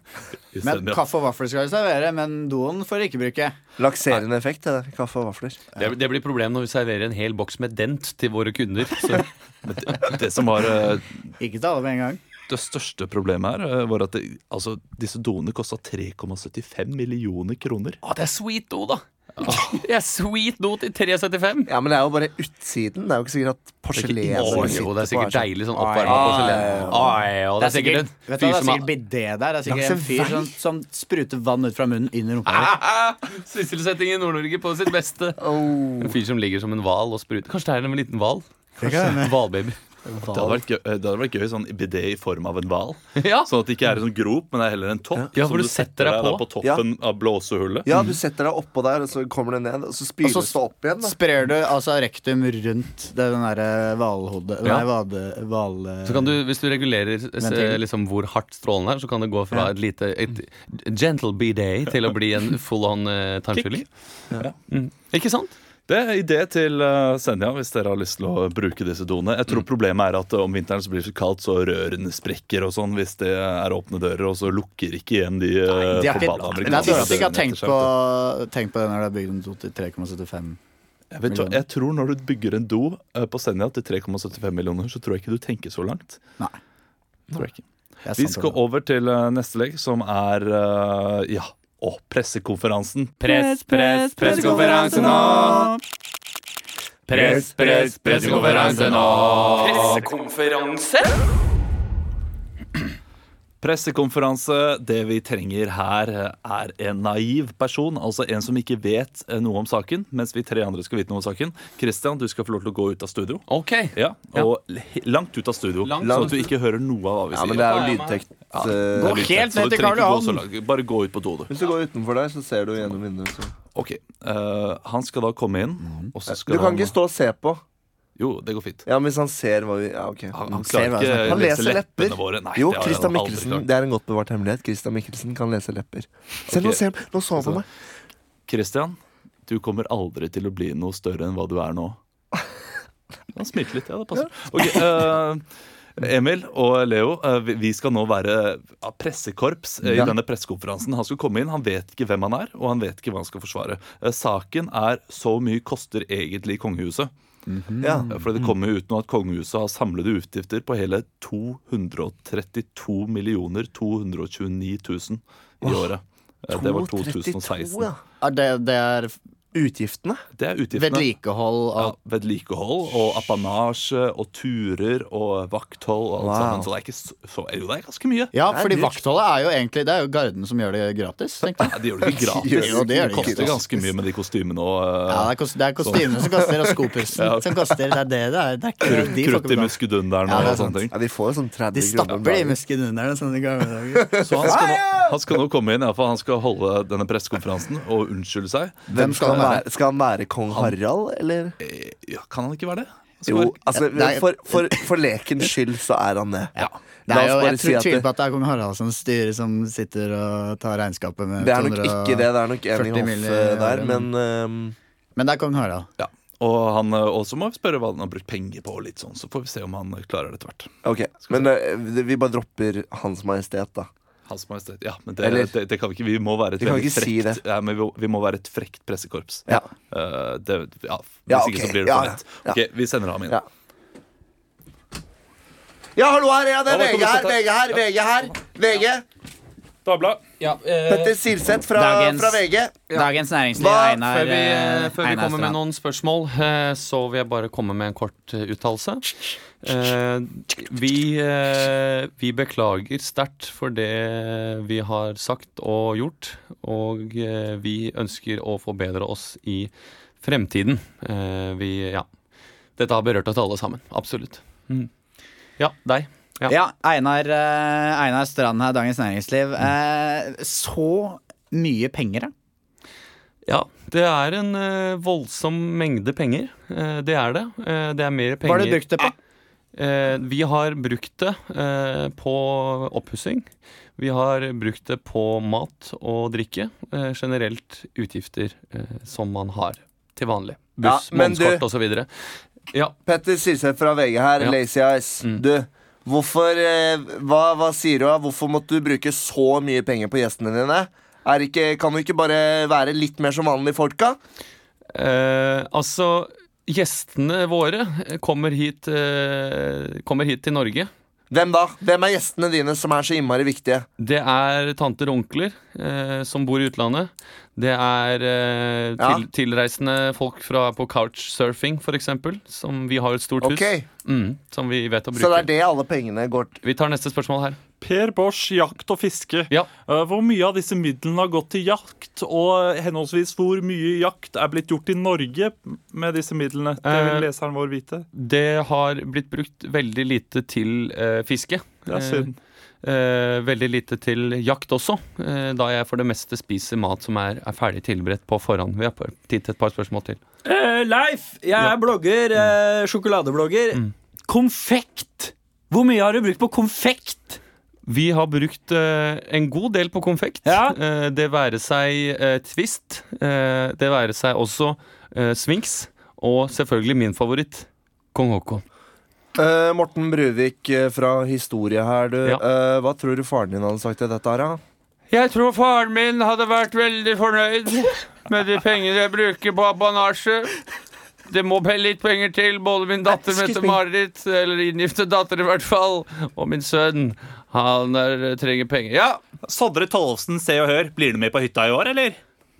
S1: i
S4: Men
S1: Senja.
S4: kaffe og vafler skal vi servere, men doen får vi ikke bruke.
S2: Lakserende effekt, det der. Kaffe og vafler.
S3: Det, det blir problem når vi serverer en hel boks med dent til våre kunder. Så.
S1: Det som var eh,
S4: Ikke til alle med en gang.
S1: det største problemet her eh, var at det, altså, disse doene kosta 3,75 millioner kroner.
S3: Å, det er sweet do, da! Det er sweet do til 375.
S2: Ja, men det er jo bare utsiden. Det er jo ikke sikkert at porselen
S3: Å, jo, det er sikkert deilig sånn oppvarma porselen. Å, ja, Det er sikkert en
S4: vet du,
S3: fyr
S4: hva, det er
S3: som
S4: sikkert
S3: har
S4: bidé der. Det er sikkert
S2: Langs en
S4: en fyr
S2: vei.
S4: som, som spruter vann ut fra munnen inn i rumpa. di.
S3: Sysselsetting i Nord-Norge på sitt beste. En fyr som ligger som en hval og spruter. Kanskje det er en liten hval? Hvalbaby.
S1: Det hadde vært gøy, eh, det hadde vært gøy sånn bidé i form av en hval.
S3: Ja.
S1: Sånn at det ikke er en sånn grop, men det er heller en topp.
S3: Ja,
S1: som
S3: hvor du setter deg
S1: da
S3: på.
S1: på toppen av blåsehullet.
S2: Ja, du setter deg oppå der, og så kommer det ned, og så spyles
S4: Og så
S2: det opp igjen. Da.
S4: Sprer du altså rektum rundt det den derre hvalhodet
S3: Ja.
S4: Nei, vade, val...
S3: Så kan du, Hvis du regulerer s-
S4: Ventil.
S3: liksom, hvor hardt strålen er, så kan det gå fra et lite et gentle b-day til å bli en full on uh, tarmfylling. Mm. Ikke sant?
S1: Det er idé til eh, Senja hvis dere har lyst til å bruke disse doene. Jeg
S3: Mm.
S1: tror problemet er at eh, om vinteren så blir det så kaldt, så rørene sprekker og sånn hvis det er åpne dører, og så lukker ikke igjen de eh,
S4: De har ikke,
S1: forbanna
S4: det er
S1: amerikanske
S4: tydelig at de ikke har
S1: dørene etter
S4: tenkt
S1: seg,
S4: på,
S1: vet du.
S4: tenkt på det når det er bygd en do til 3,75.
S1: Jeg Vet du, hva, jeg tror når du bygger en do eh, på Senja til 3,75 millioner, så tror jeg ikke du tenker så langt.
S4: Nei.
S1: Tror jeg ikke.
S4: Det er
S1: Vi
S4: sant,
S1: skal
S4: Olav.
S1: over til eh, neste lek, som er eh, ja, å, pressekonferansen.
S3: Press, press, pressekonferanse nå! Press, press, pressekonferanse nå! Pressekonferanse?
S1: Pressekonferanse. Det vi trenger her, er en naiv person. Altså en som ikke vet eh, noe om saken, mens vi tre andre skal vite noe om saken. Christian, du skal få lov til å gå ut av studio.
S3: Ok.
S1: Ja, Og he- langt ut av studio,
S3: Langt
S1: sånn
S3: ut.
S1: at du ikke hører noe av hva
S2: Ja,
S1: vi
S2: men
S1: sier.
S2: det er jo lydtekt. eh,
S4: Gå
S1: Så
S4: helt
S1: du
S4: ned til
S1: trenger
S4: Karl
S1: ikke gå så
S4: Johan!
S1: langt. Bare gå ut på do, du.
S2: Hvis du går utenfor der, så ser du gjennom vinduet. Så.
S1: Ok, eh, Han skal da komme inn, og så skal
S2: Mhm. Du kan
S1: han
S2: ikke stå og se på.
S1: Jo, det går fint.
S2: Ja, men Hvis han ser hva vi Ja, ok.
S1: Han, han
S4: Ser
S1: klarer
S4: hva
S1: ikke
S4: jeg
S1: å
S2: Han
S1: lese
S2: leser
S1: leppene
S2: lepper.
S1: våre. Nei,
S2: Jo,
S1: det har han
S2: Christian
S1: aldri
S2: Mikkelsen.
S1: klart.
S2: Det er en godt bevart hemmelighet. Christian Mikkelsen kan lese lepper. Se, nå
S1: Ok.
S2: ser han Nå så han på meg.
S1: Christian, du kommer aldri til å bli noe større enn hva du er nå. Han smilte litt, ja. Det passer. Ok, eh, Emil og Leo, eh, vi- vi skal nå være ja, pressekorps eh, i
S2: Ja.
S1: denne pressekonferansen. Han skal komme inn, han vet ikke hvem han er, og han vet ikke hva han skal forsvare. Eh, Saken er så mye koster egentlig kongehuset.
S2: Ja.
S1: Eh, For det kommer jo ut nå at kongehuset har samlede utgifter på hele 232 millioner 229 000 i året. Eh, Det var 2016.
S2: 232, ja.
S4: Er det, det er
S2: Utgiftene?
S1: Det er utgiftene.
S4: vedlikehold
S1: Ja,
S4: av
S1: vedlikehold og apanasje og turer og vakthold og alt
S2: Wow.
S1: sammen. Så det er ikke så, så Jo, det er ganske mye.
S4: Ja,
S2: Det er
S4: fordi
S2: dyrt.
S4: vaktholdet er jo egentlig Det er jo garden som gjør det gratis. tenkte jeg.
S1: Nei, de gjør det ikke gratis.
S4: Jo, det gjør de
S1: koster
S4: ikke.
S1: ganske mye med de kostymene og
S4: Ja, det
S1: eh,
S4: er, kos- det er kostymene som koster, og skopussen som koster. Det er det det er. Det er ikke, de får
S1: krutt
S4: ikke
S1: i
S4: betalt.
S1: muskedunderen
S4: Ja, det er
S1: og
S4: sant.
S1: sånne ting.
S2: Ja, De får jo sånn
S4: De
S2: 30 kroner om
S4: stapper de
S2: dagen.
S4: muskedunderne sånn i gamle dager.
S1: Så han skal, nå, han skal nå komme inn, ja, for han skal holde denne pressekonferansen og unnskylde seg.
S2: Hvem skal han være? Skal han være kong Harald, eller?
S1: Eh, Ja, kan han ikke være det? Han skal
S2: Jo,
S1: være-
S2: altså,
S4: Nei.
S2: for, for,
S5: eh,
S2: for lekens skyld så er han det.
S4: Det
S2: La
S4: er jo,
S2: oss bare
S4: jeg
S2: si
S4: tror
S2: at
S4: tviler på
S2: det,
S4: at det er kong Haraldsens styre som sitter og tar regnskapet med
S2: det er nok ikke det. Det er nok
S4: 40
S2: Ening Hoff eh,
S4: milliarder,
S2: der, men
S4: men-
S2: ehm,
S4: Men det er kong Harald.
S1: ja. Og han eh, også må vi spørre hva han har brukt penger på, og litt sånn, så får vi se om han klarer det etter hvert.
S2: Ok, men eh, vi bare dropper Hans Majestet, da.
S1: Hans Majestet. Ja, men det,
S2: Eller-
S1: det, det kan vi ikke. Vi må være et
S2: Vi kan
S1: veldig
S2: ikke si
S1: frekt,
S2: det.
S1: ja, men vi, vi må være et frekt pressekorps.
S2: Ja.
S1: Eh, det, ja, hvis
S2: Ja,
S1: ikke
S2: ok.
S1: så blir det
S2: Ja,
S1: for
S2: ja,
S1: lett.
S2: ja.
S1: Ok, vi sender ham inn.
S2: Ja. Ja, hallo her! Ja, det er
S1: Ja,
S2: VG her,
S1: velkommen,
S2: VG her, VG her. VG.
S1: Dagbladet.
S2: Petter Silseth fra,
S4: Dagens-
S2: fra VG.
S4: Dagens Næringsliv,
S2: Hva-
S4: Einar
S3: Før vi,
S4: eh,
S3: før vi
S4: Einar
S3: kommer med
S4: Strand.
S3: noen spørsmål, eh, så vil jeg bare komme med en kort eh, uttalelse. Eh, Vi, eh, vi beklager sterkt for det vi har sagt og gjort, og eh, vi ønsker å forbedre oss i Fremtiden. Eh, vi, ja. Dette har berørt oss alle sammen. Absolutt. Mm. Ja, deg. Ja.
S4: Ja, Einar, eh, Einar Strand her, Dagens Næringsliv. Eh, så mye penger, ja.
S3: Ja, det er en eh, voldsom mengde penger. Eh, det er det. Eh, det er mer penger
S4: Hva har du brukt det på?
S3: Eh, vi har brukt det eh, på oppussing. Vi har brukt det på mat og drikke. Eh, generelt utgifter eh, som man har til vanlig.
S5: Ja,
S3: Buss,
S5: men du-
S3: månedskort osv. Ja,
S5: Petter Silseth fra VG her,
S3: Ja. Mm.
S5: Lazy Eyes. Du, hvorfor, eh, hva, hva sier du? da? Hvorfor måtte du bruke så mye penger på gjestene dine? Er ikke, kan du ikke bare være litt mer som vanlige folka?
S3: Eh, altså, gjestene våre kommer hit, eh, kommer hit til Norge.
S5: Hvem da? Hvem er gjestene dine som er så innmari viktige?
S3: Det er tanter og onkler eh, som bor i utlandet. Det er eh,
S5: Ja.
S3: til, tilreisende folk fra, på couchsurfing, f.eks., som vi har et stort
S5: Ok,
S3: hus. Mm, som vi vet å bruke.
S5: Så det er det alle pengene går til.
S3: Vi tar neste spørsmål her.
S8: Per Bors jakt og fiske.
S3: Ja.
S8: Eh, Hvor mye av disse midlene har gått til jakt, og henholdsvis hvor mye jakt er blitt gjort i Norge med disse midlene? Det
S3: Eh,
S8: vil leseren vår vite.
S3: Det har blitt brukt veldig lite til eh, fiske.
S8: Det er synd.
S3: Eh, eh, veldig lite til jakt også, eh, da jeg for det meste spiser mat som er, er ferdig tilberedt på forhånd. Vi har par- tid til et par spørsmål til.
S9: Eh, Leif, jeg er blogger, eh, sjokoladeblogger. Konfekt! Hvor mye har du brukt på konfekt?
S3: Vi har brukt eh, en god del på konfekt.
S9: Ja.
S3: Eh, det være seg eh, Twist, eh, det være seg også eh, Sphinx, og selvfølgelig min favoritt, Kong Haakon.
S5: Eh, Morten Bruvik eh, fra Historie her, du.
S3: Ja.
S5: Eh, hva tror du faren din hadde sagt til dette her, da?
S3: Jeg tror faren min hadde vært veldig fornøyd med de pengene jeg bruker på apanasje. Det må pe- litt penger til, både min datter Mette-Marit, eller inngifte datter i hvert fall, og min sønn. Han er, trenger penger. Ja!
S8: Sondre Tollefsen, Se og Hør, blir du med på hytta i år, eller?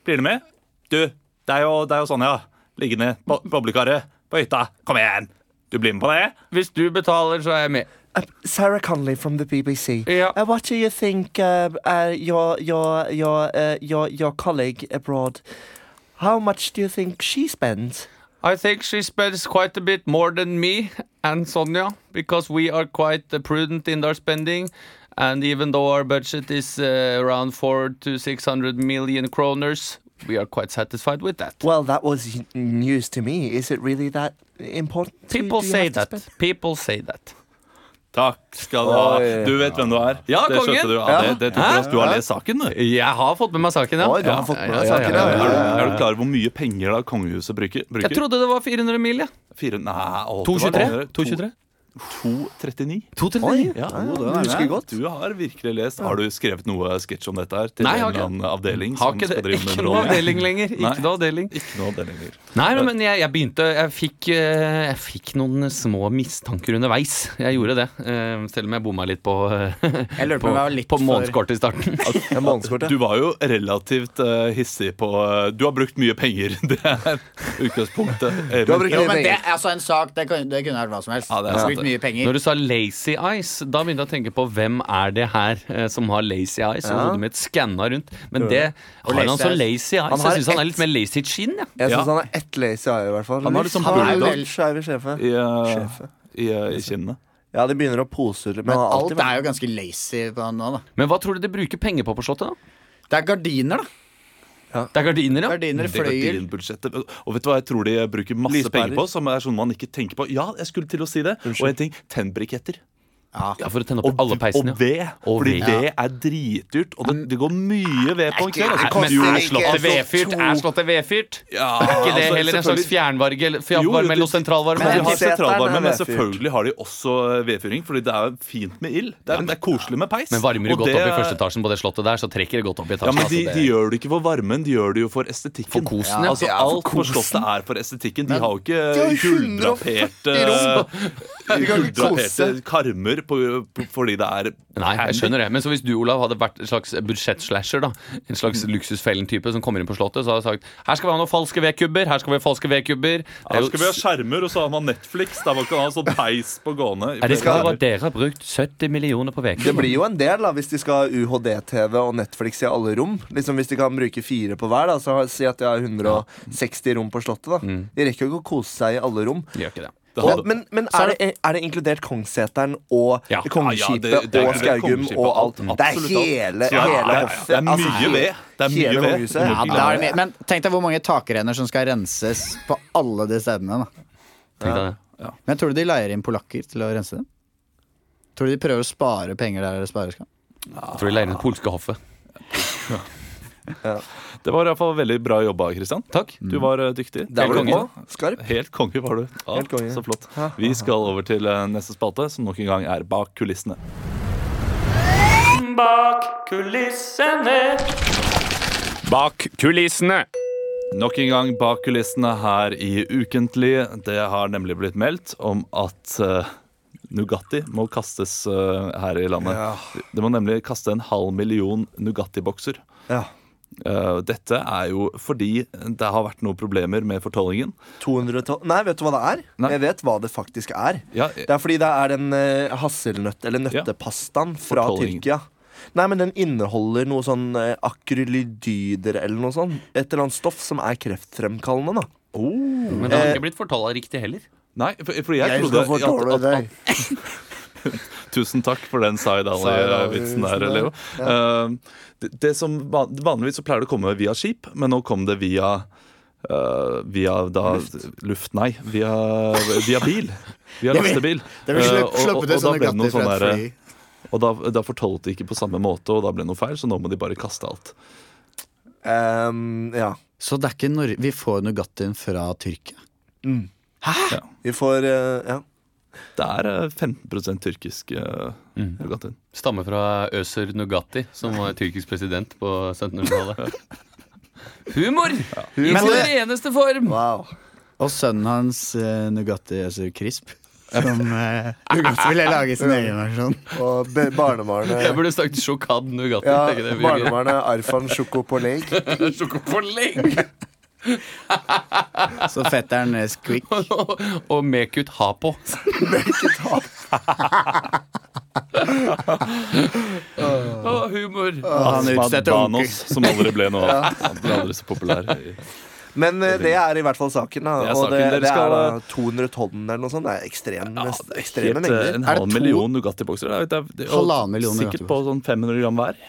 S8: Blir du med? Du, det er jo, det er jo sånn, ja. Liggende bo- boblekaret på hytta. Kom igjen! Du blir med på det?
S3: Hvis du betaler, så er jeg med.
S5: Eh, Sarah Connolly from the BBC.
S3: Ja.
S5: Uh, what do you think uh, uh, your your your uh, your your colleague abroad? How much do you think she spends?
S3: I think she spends quite a bit more than me and Sonja because we are quite uh, prudent in our spending. And even though our budget is uh, around four to six hundred million kroners, we are quite satisfied with that.
S5: Well, that was n- news to me. Is it really that important? to-
S3: People
S5: do you
S3: say
S5: have to
S3: that.
S5: spend-
S3: People say that.
S1: Takk skal du ha.
S5: Oi.
S1: Du vet hvem du er.
S3: Ja,
S1: det
S3: kongen.
S1: skjønte du. Ja, det, det tok oss. Du har
S5: Ja.
S1: lest saken, du.
S3: Jeg har fått med meg saken, ja.
S5: Oi, du
S3: Ja,
S5: har fått med
S3: ja,
S5: deg
S3: ja,
S5: saken,
S3: ja, ja,
S5: ja.
S1: Er du,
S3: ja.
S1: er du klar over hvor mye penger da kongehuset bruker?
S3: Jeg trodde det var 400 mil, jeg.
S1: Fire, nei, å, det var nærmere.
S3: 223?
S1: To- 239.
S3: 239?
S1: Ja,
S4: er
S1: du
S4: det.
S1: husker godt. Du har virkelig lest. Har du skrevet noe sketsj om dette her? Til
S3: Nei,
S1: en
S3: har
S1: eller
S3: ikke.
S1: annen avdeling
S3: Har
S1: som
S3: ikke det.
S1: skal drive med
S3: Ikke noe avdeling
S1: underholdning?
S3: lenger.
S1: Nei.
S3: Ikke noe avdeling.
S1: Ikke noe avdeling lenger.
S3: Nei, men- men jeg, jeg begynte jeg fikk, eh, jeg fikk noen små mistanker underveis. Jeg gjorde det. eh, Selv om jeg bomma litt på, eh,
S4: Jeg lurer på
S3: på,
S4: om jeg var litt
S3: på
S4: for-
S3: månedskortet i starten.
S5: Ja, månedskortet.
S1: Du var jo relativt eh, hissig på eh, Du har brukt mye penger. Det er utgangspunktet.
S5: Du har brukt
S4: Jo,
S5: mye
S4: men det,
S5: penger.
S4: altså en sak, det, kan, det kunne vært hva som helst.
S1: Ja, det er
S4: Jeg har
S1: sant,
S4: brukt mye penger.
S3: Når du sa lazy eyes, da begynte jeg å tenke på hvem er det her eh, som har lazy eyes? Og hodet mitt skanna rundt. Men det har han
S4: lazy
S3: så
S4: eyes.
S3: lazy eyes.
S5: Han har
S3: Jeg syns han er
S5: ett-
S3: litt mer lazy chin. Ja.
S5: Jeg
S1: Ja.
S5: syns han er ett lazy eye, i hvert fall.
S1: Han har liksom
S5: han er jo
S4: bulldog.
S5: litt skeiv i sjefen.
S1: i, eh,
S5: Sjefen.
S1: i, eh, i kinnene.
S5: Ja, de begynner å pose litt.
S4: Men
S5: han har
S4: alt
S5: alltid
S4: er
S5: vært-
S4: jo ganske lazy på han nå, da.
S3: Men hva tror du de bruker penger på på Slottet? da?
S4: Det er gardiner, da.
S3: Det er gardiner, ja.
S4: Gardiner,
S1: Det går til
S4: fløyel.
S1: budsjettet. Og vet du hva jeg tror de bruker masse
S5: Lyspærer.
S1: penger på? Som er sånn man ikke tenker på. Ja, jeg skulle til å si det. Og en ting tennbriketter.
S3: ja. For å tenne
S1: Og,
S3: opp alle peisene.
S1: og
S3: ja.
S1: ved.
S3: Og
S1: fordi
S3: ved.
S1: ved er dritdyrt. Og det, det går mye ved på en kveld.
S3: Nei,
S1: Altså,
S3: men
S1: jo,
S3: er
S1: slå-
S3: Slottet vedfyrt? Er Slottet vedfyrt?
S1: ja,
S3: Er ikke
S1: altså,
S3: det heller en slags
S1: selvfølgelig-
S3: fjernvarme eller
S1: Jo, jo,
S3: fjernvarme
S1: det-
S3: eller sentralvarme?
S1: De
S5: Men-
S1: har
S5: Seteren er
S1: sentralvarme, men
S5: vedfyrt.
S1: selvfølgelig har de også vedfyring. Fordi det er fint med ild. Det er, det er koselig med peis.
S3: Men varmer du
S1: Og
S3: godt
S1: det-
S3: opp i første etasjen på det slottet der, så trekker det godt opp i
S1: Ja,
S3: etasjen.
S1: men de,
S3: altså, det-
S1: de gjør det ikke for varmen, de gjør det jo for estetikken.
S3: For kosen, ja.
S1: Altså, alt på Slottet er for estetikken. De har jo ikke
S5: har jo
S1: gulldraperte
S8: Vi kan ikke
S1: Ultrahete
S8: kose.
S1: karmer på, på, fordi det er
S3: Nei, jeg skjønner det. Men så hvis du, Olav, hadde vært en slags budsjettslasher, da, en slags
S1: Mm.
S3: luksusfellen-type som kommer inn på Slottet, så hadde jeg sagt her skal vi ha noen falske vedkubber, her skal vi ha falske vedkubber. Det
S1: Her
S3: jo
S1: skal vi ha skjermer, og så har man Netflix. Der man kan ha sånn peis på gående.
S3: Ja, det skal jo være dere har brukt 70 millioner på
S5: Det blir
S3: vedkubber.
S5: jo en del da, hvis de skal ha UHD-TV og Netflix i alle rom. Liksom Hvis de kan bruke fire på hver, da, så har- si at de har 160 rom på Slottet. da De rekker jo ikke å kose seg i alle rom.
S3: De gjør ikke det.
S5: Og, men men
S3: Så er
S5: er, det, er det inkludert Kongsseteren og
S3: Ja.
S5: Kongeskipet
S1: Ja, ja, det- det er
S5: og
S1: inkludert
S5: Skaugum
S1: Kongeskipet,
S5: og alt?
S1: alt.
S5: Det er
S1: Absolutt alt.
S5: hele,
S1: Ja, ja, ja,
S5: hele
S1: ja.
S5: hoffet.
S1: Det er mye
S5: altså,
S1: ved. Det er mye
S5: hele
S1: ved.
S5: kongehuset.
S4: Ja, da er det mye.
S5: men,
S4: Men tenk deg hvor mange takrenner som skal renses på alle de stedene. Da.
S3: Tenk deg det.
S4: Men tror du de leier inn polakker til å rense dem? Tror du de prøver å spare penger der det spares kan?
S3: Jeg tror de leier inn det polske hoffet.
S1: Det var i hvert fall veldig bra jobba, Kristian.
S3: Takk.
S1: Du var eh, dyktig.
S5: Der var
S1: Helt
S5: du
S1: konge.
S5: på. Skarp.
S1: Helt konge var du. Ja,
S5: Helt konge.
S1: Så flott. Vi skal over til eh, neste spalte, som nok en gang er bak kulissene.
S9: Bak kulissene.
S1: Bak kulissene! Nok en gang bak kulissene her i Ukentlig. Det har nemlig blitt meldt om at eh, Nugatti må kastes eh, her i landet. Det må nemlig kaste en halv million Nugatti-bokser.
S5: Ja.
S1: Eh, dette er jo fordi det har vært noen problemer med fortolkningen.
S5: 212 Nei, vet du hva det er?
S1: Nei.
S5: Jeg vet hva det faktisk er.
S1: Ja,
S5: Det er fordi det er den uh, hasselnøtt- eller nøttepastaen fra
S1: Fortolling.
S5: Tyrkia. Nei, men den inneholder noe sånn eh, akrylidyder eller noe sånt. Et eller annet stoff som er kreftfremkallende, da.
S3: Men det har
S1: eh,
S3: ikke blitt fortalla riktig heller.
S1: Nei, for, for jeg,
S5: Jeg
S1: trodde
S5: skal fortelle
S1: at, at, at, Tusen takk for den Zaid Ali-vitsen der, Leo. Eh, det, det som van- Vanligvis så pleier det å komme via skip, men nå kom det via eh, via da luft. Nei, via, via bil. Via
S4: Det vil-
S1: lastebil.
S4: det vil
S1: Eh,
S4: slupp-
S1: og-
S4: sluppe
S1: og- og
S4: til
S1: da
S4: sånne
S1: ble det noe
S4: glatter fra
S1: sånn
S4: et
S1: der,
S4: fly.
S1: Og da, da fortalte de ikke på samme måte, og da ble det noe feil, så nå må de bare kaste alt.
S2: Um,
S5: Ehm, ja.
S4: Så det er ikke Nor vi får Nugattien fra Tyrkia?
S5: Vi får eh, Ja.
S1: Det er eh, 15 tyrkisk uh, Nugatin.
S3: Stammer fra Øser Nugatti, som var tyrkisk president på 1700-tallet. Humor! I sin reneste form!
S5: Wow.
S4: Og sønnen hans, eh, Nugatti Øzer Crisp, som eh, Nugatti ville lage sin egen versjon.
S5: Og be-
S3: Jeg
S5: barnebarnet
S3: burde sagt sjokad Nugatti.
S5: ja,
S3: tenker jeg.
S5: barnebarnet Arfan Sjoko på Lake.
S3: Sjokopålegg!
S4: Så fetteren eh, Squeak
S3: og, og Mekut ha på. Å, humor.
S4: Ah, han utstedte onkel.
S1: Banos, som aldri ble noe av. Han ble aldri så populær.
S5: Men eh, det er i hvert fall saken. Da.
S1: Det er
S5: og det,
S1: saken. Dere
S5: det
S1: skal-
S5: er da 200 tonn eller noe sånt. Det er ekstrem, ekstreme
S1: Helt, eh,
S5: mengder.
S1: en
S4: Er det
S1: halv
S4: to-
S1: million Nugatti-bokser. Det er- det er- det er- og
S4: Halvannen million
S1: Sikkert på sånn 500 gram hver.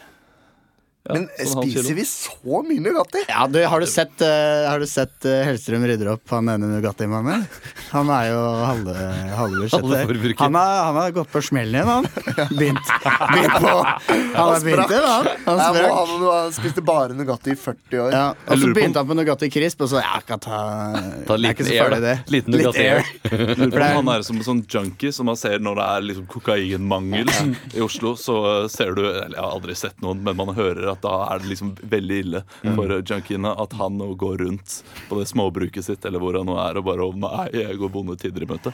S1: Ja,
S5: Men
S1: sånn halv
S5: spiser
S1: kilo.
S5: vi så mye Nugatti?
S4: Ja, du, har du sett, eh, har du sett eh, Hellstrøm rydder opp han ene Nugatti-mannen? Han er jo halve, halve budsjettet.
S3: Halvforbruker.
S4: Han, har- han har gått på smellen igjen, han. Begynt, begynt på Han har begynt igjen, han. Han
S5: Jeg må ha
S4: sprakk.
S5: noe, han spiste bare Nugatti i 40 år.
S4: Ja, og så
S1: lurer på om-
S4: begynte han på Nugatti Crisp, og så ja, jeg kan ta,
S3: Ta
S4: Det er ikke
S3: liten
S4: så
S3: air, da.
S4: farlig, det.
S3: Liten Nugatti air.
S1: Lurer på
S4: er-
S1: om han er som en sånn junkie som man ser når det er liksom kokainmangel i Oslo. Så eh, ser du eller Jeg har aldri sett noen, men man hører at da er det liksom veldig ille for eh, junkiene at han nå går rundt på det småbruket sitt eller hvor han nå er, og bare «Å, Nei, jeg går vonde tider i møte.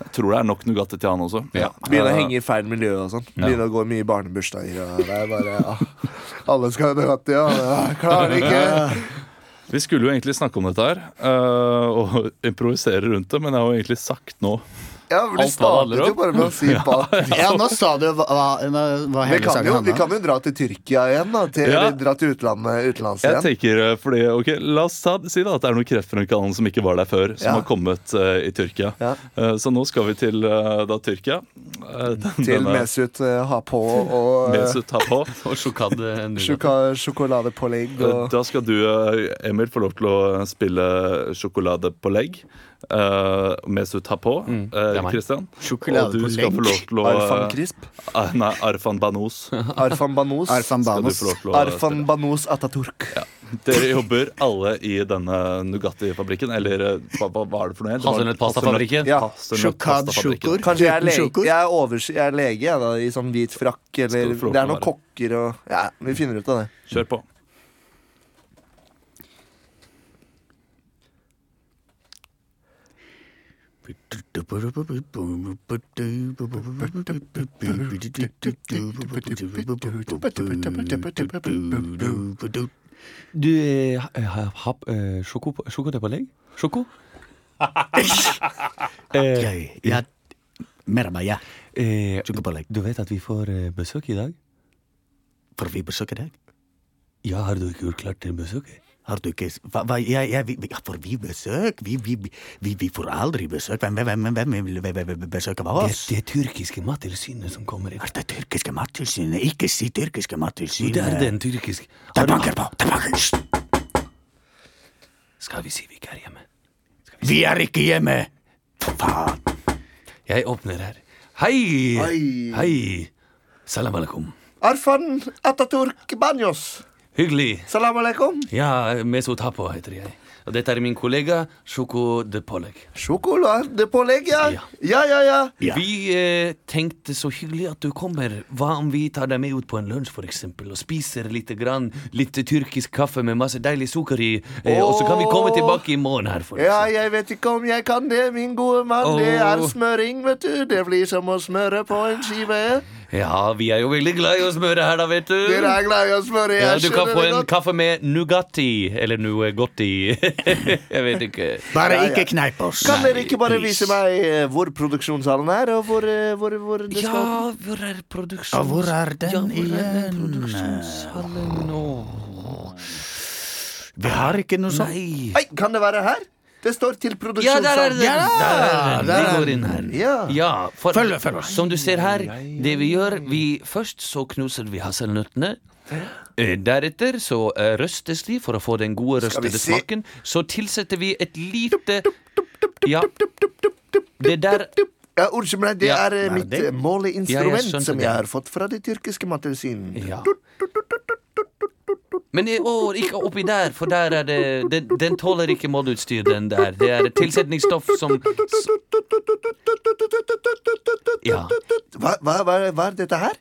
S1: Jeg tror det er nok Nugatti til han også.
S3: Ja.
S5: Begynne å henge i feil miljø og sånn. Begynne å gå mye i barnebursdager. Og det er bare, ja. Alle skal ha Nugatti, og jeg klarer ikke.
S1: Vi skulle jo egentlig snakke om dette her eh, og improvisere rundt det, men jeg har jo egentlig sagt nå
S5: Ja, for
S1: Alt
S5: det
S1: hva det handler
S5: startet
S1: om.
S5: jo bare med å si faen.
S4: Ja, nå sa du jo hva, hva, hva
S5: Vi
S4: hele
S5: kan, jo,
S4: saken
S5: vi
S4: handla
S5: kan jo dra til Tyrkia igjen, da. Til,
S1: Ja.
S5: Eller dra til utlandet, utenlands
S1: Jeg
S5: igjen.
S1: tenker, eh, fordi, ok, La oss ta, si da at det er noen kreftfremkallende som ikke var der før, som
S5: Ja.
S1: har kommet eh, i Tyrkia.
S5: Ja.
S1: Eh, så nå skal vi til eh, da Tyrkia. Eh, den-
S5: Til
S1: denne
S5: Mesut eh, ha på og eh,
S1: Mesut har på.
S3: Og sjokad eh, Nugatti.
S5: sjoka- sjokoladepålegg
S1: Eh,
S5: og
S1: Da skal du, eh, Emil, få lov til å spille sjokolade på legg. Eh, Mesut har på.
S3: Mm, det er meg.
S1: Kristian.
S4: Sjokolade
S1: og du
S4: på
S1: skal
S4: legg?
S1: få lov til å eh,
S5: Arfan Crisp.
S1: Ah, Nei, Arfan Banos.
S5: Arfan Banos.
S4: Arfan
S1: Skal du
S4: Banos.
S1: få lov til å spille.
S5: Arfan Banos Ataturk.
S1: Dere jobber alle i denne Nugatti-fabrikken, eller eh, hva, hva, hva er det for noe? Det var-
S3: Hasselnøttpastafabrikken.
S5: Ja.
S1: Hasselnøtt-
S4: Sjokad
S1: pastafabrikken.
S4: sjokor.
S5: Kanskje jeg er
S4: Uten
S5: lege,
S4: sjokor.
S5: jeg er, overs jeg er lege jeg, da, i sånn hvit frakk eller
S1: Skal du få lov
S5: Det er
S1: til å
S5: noen kokker og Ja, vi finner ut av det.
S1: Kjør på.
S3: Du eh, har hatt eh, sjoko på- sjokoladepålegg? Sjoko? Eh,
S4: Jeg- jeg-
S3: Mer meg, ja. Sjokopålegg. Eh, Du vet at vi får eh, besøk i dag? Får vi besøk i dag? Ja, har du ikke gjort klart til besøket?
S4: Har du ikke s- hva, hva, jeg, jeg, vi, vi- ja, Får vi besøk? Vi, vi, vi, vi får aldri besøk. Hvem, hvem, hvem, hvem vil hvem- hvem vil besøke av oss?
S3: Det, det tyrkiske mattilsynet som kommer i dag.
S4: Det tyrkiske mattilsynet. Ikke si tyrkiske mattilsynet.
S3: Det er den tyrkiske.
S4: Det banker på! Det banker. Hysj!
S3: Skal vi si vi ikke er hjemme?
S4: Vi er ikke hjemme!
S3: Jeg åpner her. Hei! Hei! Salam alaikum.
S5: Arfan Ataturk Banjos.
S3: Hyggelig.
S5: Salam alaikum.
S3: Ja, Mesut Hapo heter jeg. Og dette er min kollega Sjoko de Polleg.
S5: Sjokoladepålegg, ja. Ja, ja, ja.
S3: Vi eh, tenkte så hyggelig at du kommer. Hva om vi tar deg med ut på en lunsj for eksempel, og spiser lite grann, litt tyrkisk kaffe med masse deilig sukker i, eh, og så kan vi komme tilbake i morgen her for
S5: Ja, jeg vet ikke om jeg kan det, min gode mann. Det er
S3: Åh.
S5: smøring, vet du. Det blir som å smøre på en skive.
S3: Ja, vi er jo veldig glad i å smøre her, da, vet du.
S5: Dere er glad i å smøre, jeg
S3: Ja, du kan
S5: skjønner
S3: få
S5: det
S3: en
S5: godt.
S3: kaffe med Nugatti, eller Nugotti. jeg vet ikke.
S5: Bare Ja, ja. ikke
S4: kneip oss.
S5: Kan dere ikke bare vise meg eh, hvor produksjonssalen er, og hvor, eh, hvor, hvor det skal
S3: Ja, hvor er produksjons...
S4: Ja, hvor er den
S3: Ja, hvor er den
S4: igjen?
S3: produksjonshallen nå?
S4: Vi har ikke noe sånt.
S5: Nei, kan det være her? Det står til
S3: Ja, der er
S5: produksjonssalen.
S3: den! Der er den. Vi går inn her.
S5: Ja.
S3: Ja, for, Som du ser her, det vi gjør vi, Først så knuser vi hasselnøttene. Eh, Deretter så eh, røstes de for å få den gode
S10: Skal vi
S3: røstede
S10: se?
S3: smaken. Så tilsetter vi et lite Ja. Det der
S5: Ja, Unnskyld meg, det
S3: Ja.
S5: er eh,
S3: Nei,
S5: mitt
S3: det-
S5: eh, måleinstrument
S3: Ja, jeg skjønte
S5: som
S3: det.
S5: jeg har fått fra det tyrkiske mattilsynet.
S3: Men eh, å, ikke oppi der, for der er det Den, den tåler ikke målutstyr, den der. Det er et tilsetningsstoff som Ja.
S5: Hva, hva, hva, hva er dette her?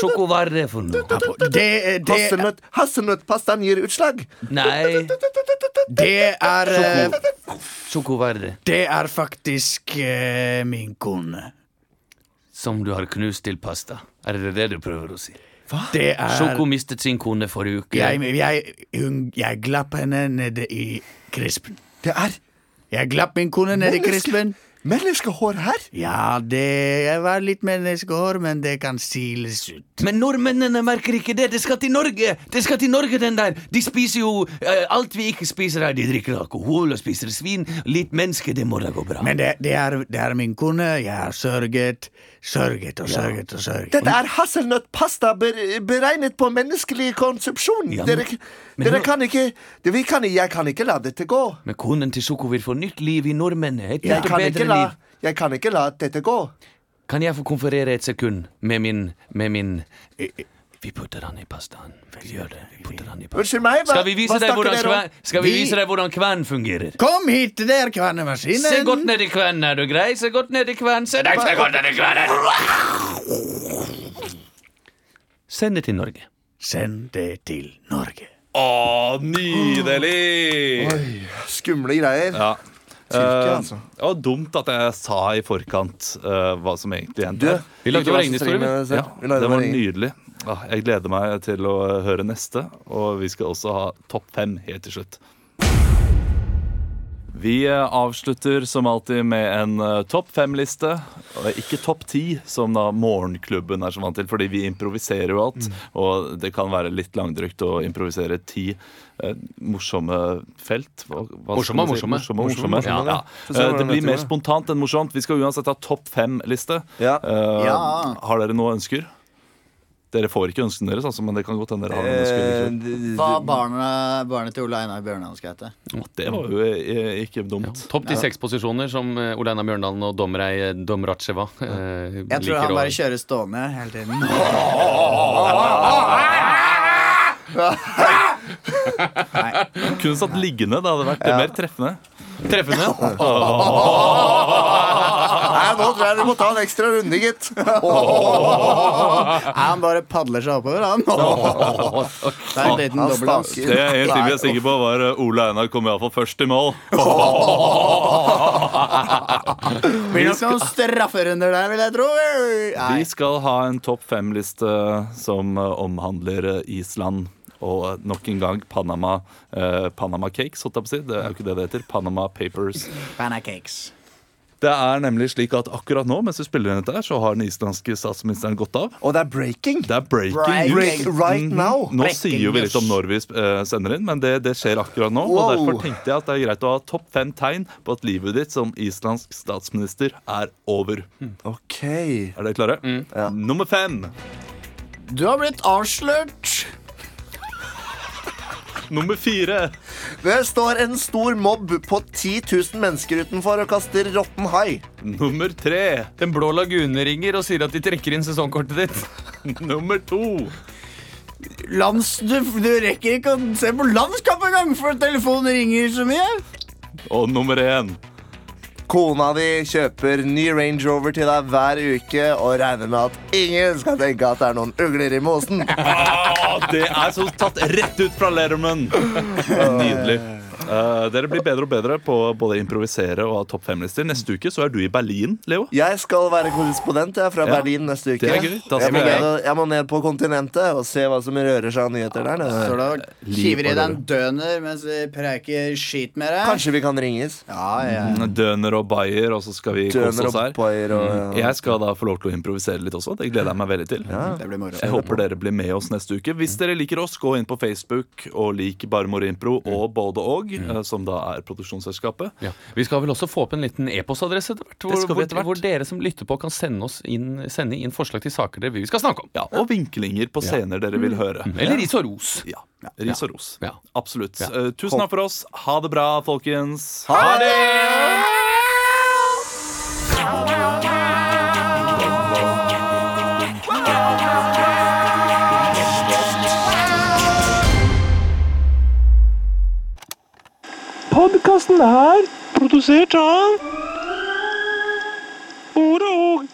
S3: Sjoko, hva er det for noe?
S4: det-
S5: Hasselnøtt, hasselnøttpastaen gir utslag.
S3: Nei,
S4: Det er eh,
S3: Sjoko, hva er det?
S4: Det er faktisk eh, min kone.
S3: Som du har knust til pasta. Er det det du prøver å si? Hva?
S4: Det er-
S3: Sjoko mistet sin kone forrige uke.
S4: Jeg, jeg, hun, jeg glapp henne nede i krispen.
S5: Det er
S4: Jeg glapp min kone nede i
S3: Menneske-
S4: krispen.
S5: Menneskehår her?
S4: Ja, det var litt menneskehår, men det kan siles ut.
S3: Men nordmennene merker ikke det. Det skal til Norge! Det skal til Norge, den der! De spiser jo eh, alt vi ikke spiser her. De drikker alkohol og spiser svin. Litt menneske, det må da gå bra.
S4: Men det, det, er, det er min kone. Jeg har sørget, sørget og sørget og sørget.
S5: Dette er hasselnøttpasta ber- beregnet på menneskelig konsepsjon.
S3: Ja, men-
S5: dere
S3: men
S5: dere
S3: nå-
S5: kan ikke det, vi kan, Jeg kan ikke la dette gå.
S3: Men konen til Sjoko vil få nytt liv i nordmennene. Et
S5: Jeg
S3: nytt og
S5: kan,
S3: bedre
S5: ikke la,
S3: liv.
S5: jeg kan ikke la dette gå.
S3: Kan jeg få konferere et sekund med min Med min eh, Vi putter han i pastaen. Vi gjør det. Vi putter han i pastaen.
S5: Unnskyld meg, hva-
S3: Skal vi vise
S5: hva
S3: deg
S5: snakker
S3: hvordan,
S5: dere om?
S3: kvern- skal vi
S5: Vi-
S3: vise deg hvordan kvern fungerer?
S4: Kom hit, det er kvernemaskinen.
S3: Se godt ned i kvernen, er du grei? Se godt ned i kvernen. Se deg, se godt ned i kvernen! Send det til Norge.
S4: Send det til Norge.
S1: Å, nydelig!
S5: Skumle greier.
S1: Ja.
S5: Tyrkia,
S1: Eh,
S5: altså.
S1: Det var dumt at jeg sa i forkant eh, hva som egentlig
S5: Du,
S1: hendte.
S5: Vi lagde ikke vår vær så egen streng historie, med vi. deg selv.
S1: Ja,
S5: Vi lagde
S1: det var
S5: vår egen.
S1: nydelig. Ah, Jeg gleder meg til å eh, høre neste, og vi skal også ha topp fem helt til slutt. Vi eh, avslutter som alltid med en eh, topp fem-liste. og Ikke topp ti, som da Morgenklubben er så vant til, fordi vi improviserer jo
S5: Mm.
S1: alt. Og det kan være litt langdrygt å improvisere ti eh, morsomme felt. Hva, hva skal man si?
S3: Morsomme, morsomme.
S1: morsomme,
S3: Morsomme,
S1: morsomme.
S3: morsomme,
S1: Ja.
S3: ja.
S1: Eh, Det blir mer spontant enn morsomt. Vi skal uansett ha topp fem-liste. Eh,
S5: Ja.
S1: Har dere noe ønsker? Dere får ikke ønskene deres, altså, men det kan godt hende dere har noen ønsker.
S5: Eh,
S1: likevel.
S2: Hva barnet, barnet til Ole Einar Bjørnland skal hete.
S1: Det var jo eh, ikke dumt.
S3: Topp til seks posisjoner som eh, Ole Einar Bjørndalen og Domrei Domracheva eh,
S2: Jeg tror
S3: liker
S2: han
S3: å-
S2: bare kjører stående hele tiden.
S1: Kunne satt liggende. Det hadde vært mer treffende.
S3: Treffende?
S5: Nei, nå tror jeg vi må ta en ekstra runde, gitt.
S4: Han bare padler seg oppover, han. Det er en liten
S5: Han
S4: dobbel hans.
S1: Det jeg helt sikkert er sikker på, var eh, Ole Einar kom iallfall først i mål.
S4: Blir nok noen strafferunder der, vil jeg tro. Nei.
S1: Vi skal ha en topp fem-liste som eh, omhandler eh, Island. Og eh, nok en gang Panama, eh, Panama Cakes, holdt jeg på å si. Det er jo ikke det det heter. Panama Papers.
S4: Pancakes.
S1: Det er nemlig slik at akkurat nå, mens vi spiller inn dette, her, så har den islandske statsministeren gått av.
S5: Og det er breaking.
S1: Det er breaking. Mhm.
S5: Break right now.
S1: Nå sier jo vi litt om når vi eh, sender inn, men det, det skjer akkurat nå. Og
S5: Wow.
S1: Derfor tenkte jeg at det er greit å ha topp fem tegn på at livet ditt som islandsk statsminister er over.
S5: Ok.
S1: Er dere klare? Nummer fem.
S4: Du har blitt avslørt.
S1: Nummer fire.
S5: Det står en stor mobb på 10 000 mennesker utenfor og kaster råtten hai.
S1: Nummer tre.
S3: Den blå lagune ringer og sier at de trekker inn sesongkortet ditt.
S1: Nummer to.
S4: Lands, du, du rekker ikke å se på landskamp engang, for telefonen ringer så mye.
S1: Og nummer én.
S5: Kona di kjøper ny Range Rover til deg hver uke og regner med at ingen skal tenke at det er noen ugler i mosen.
S1: Ah, det er så tatt rett ut fra Letterman. Nydelig. Eh, dere blir bedre og bedre på både å improvisere og ha topp fem-lister. Neste uke så er du i Berlin, Leo.
S5: Jeg skal være korrespondent jeg, fra
S1: Ja.
S5: Berlin neste uke.
S1: Det er gøy. Da
S5: Jeg
S1: skal
S5: må,
S1: jeg-
S5: ned, jeg må ned på kontinentet og se hva som rører seg av nyheter der
S4: Så
S5: nede.
S4: da kiver
S1: på
S4: i deg en døner mens vi preiker skit med deg.
S5: Kanskje vi kan ringes?
S4: Ja, ja.
S1: Døner og Bayer, og så skal vi kose
S5: Døner
S1: oss
S5: og
S1: her. Mm.
S5: Bayer og ja.
S1: Jeg skal da få lov til å improvisere litt også. Det gleder jeg meg veldig til.
S4: Det blir moro.
S1: Jeg håper dere blir med oss neste uke. Hvis dere liker oss, gå inn på Facebook og lik Barmor Impro og Både Og,
S5: Mm.
S1: eh, som da er produksjonsselskapet.
S3: Ja. Vi skal vel også få opp en liten e-postadresse etter hvert, hvor,
S1: Det skal vi
S3: hvor,
S1: etter hvert.
S3: hvor dere som lytter på, kan sende, oss inn, sende inn forslag til saker dere vil vi skal snakke om.
S1: Ja, og vinklinger på scener dere vil høre.
S5: Mm.
S3: Eller ris og ros.
S1: Ja. Ris og ros.
S3: Ja.
S1: Absolutt. Eh, Tusen takk for oss. Ha det bra, folkens.
S5: Ha det!
S11: Podkasten er produsert av Ordet og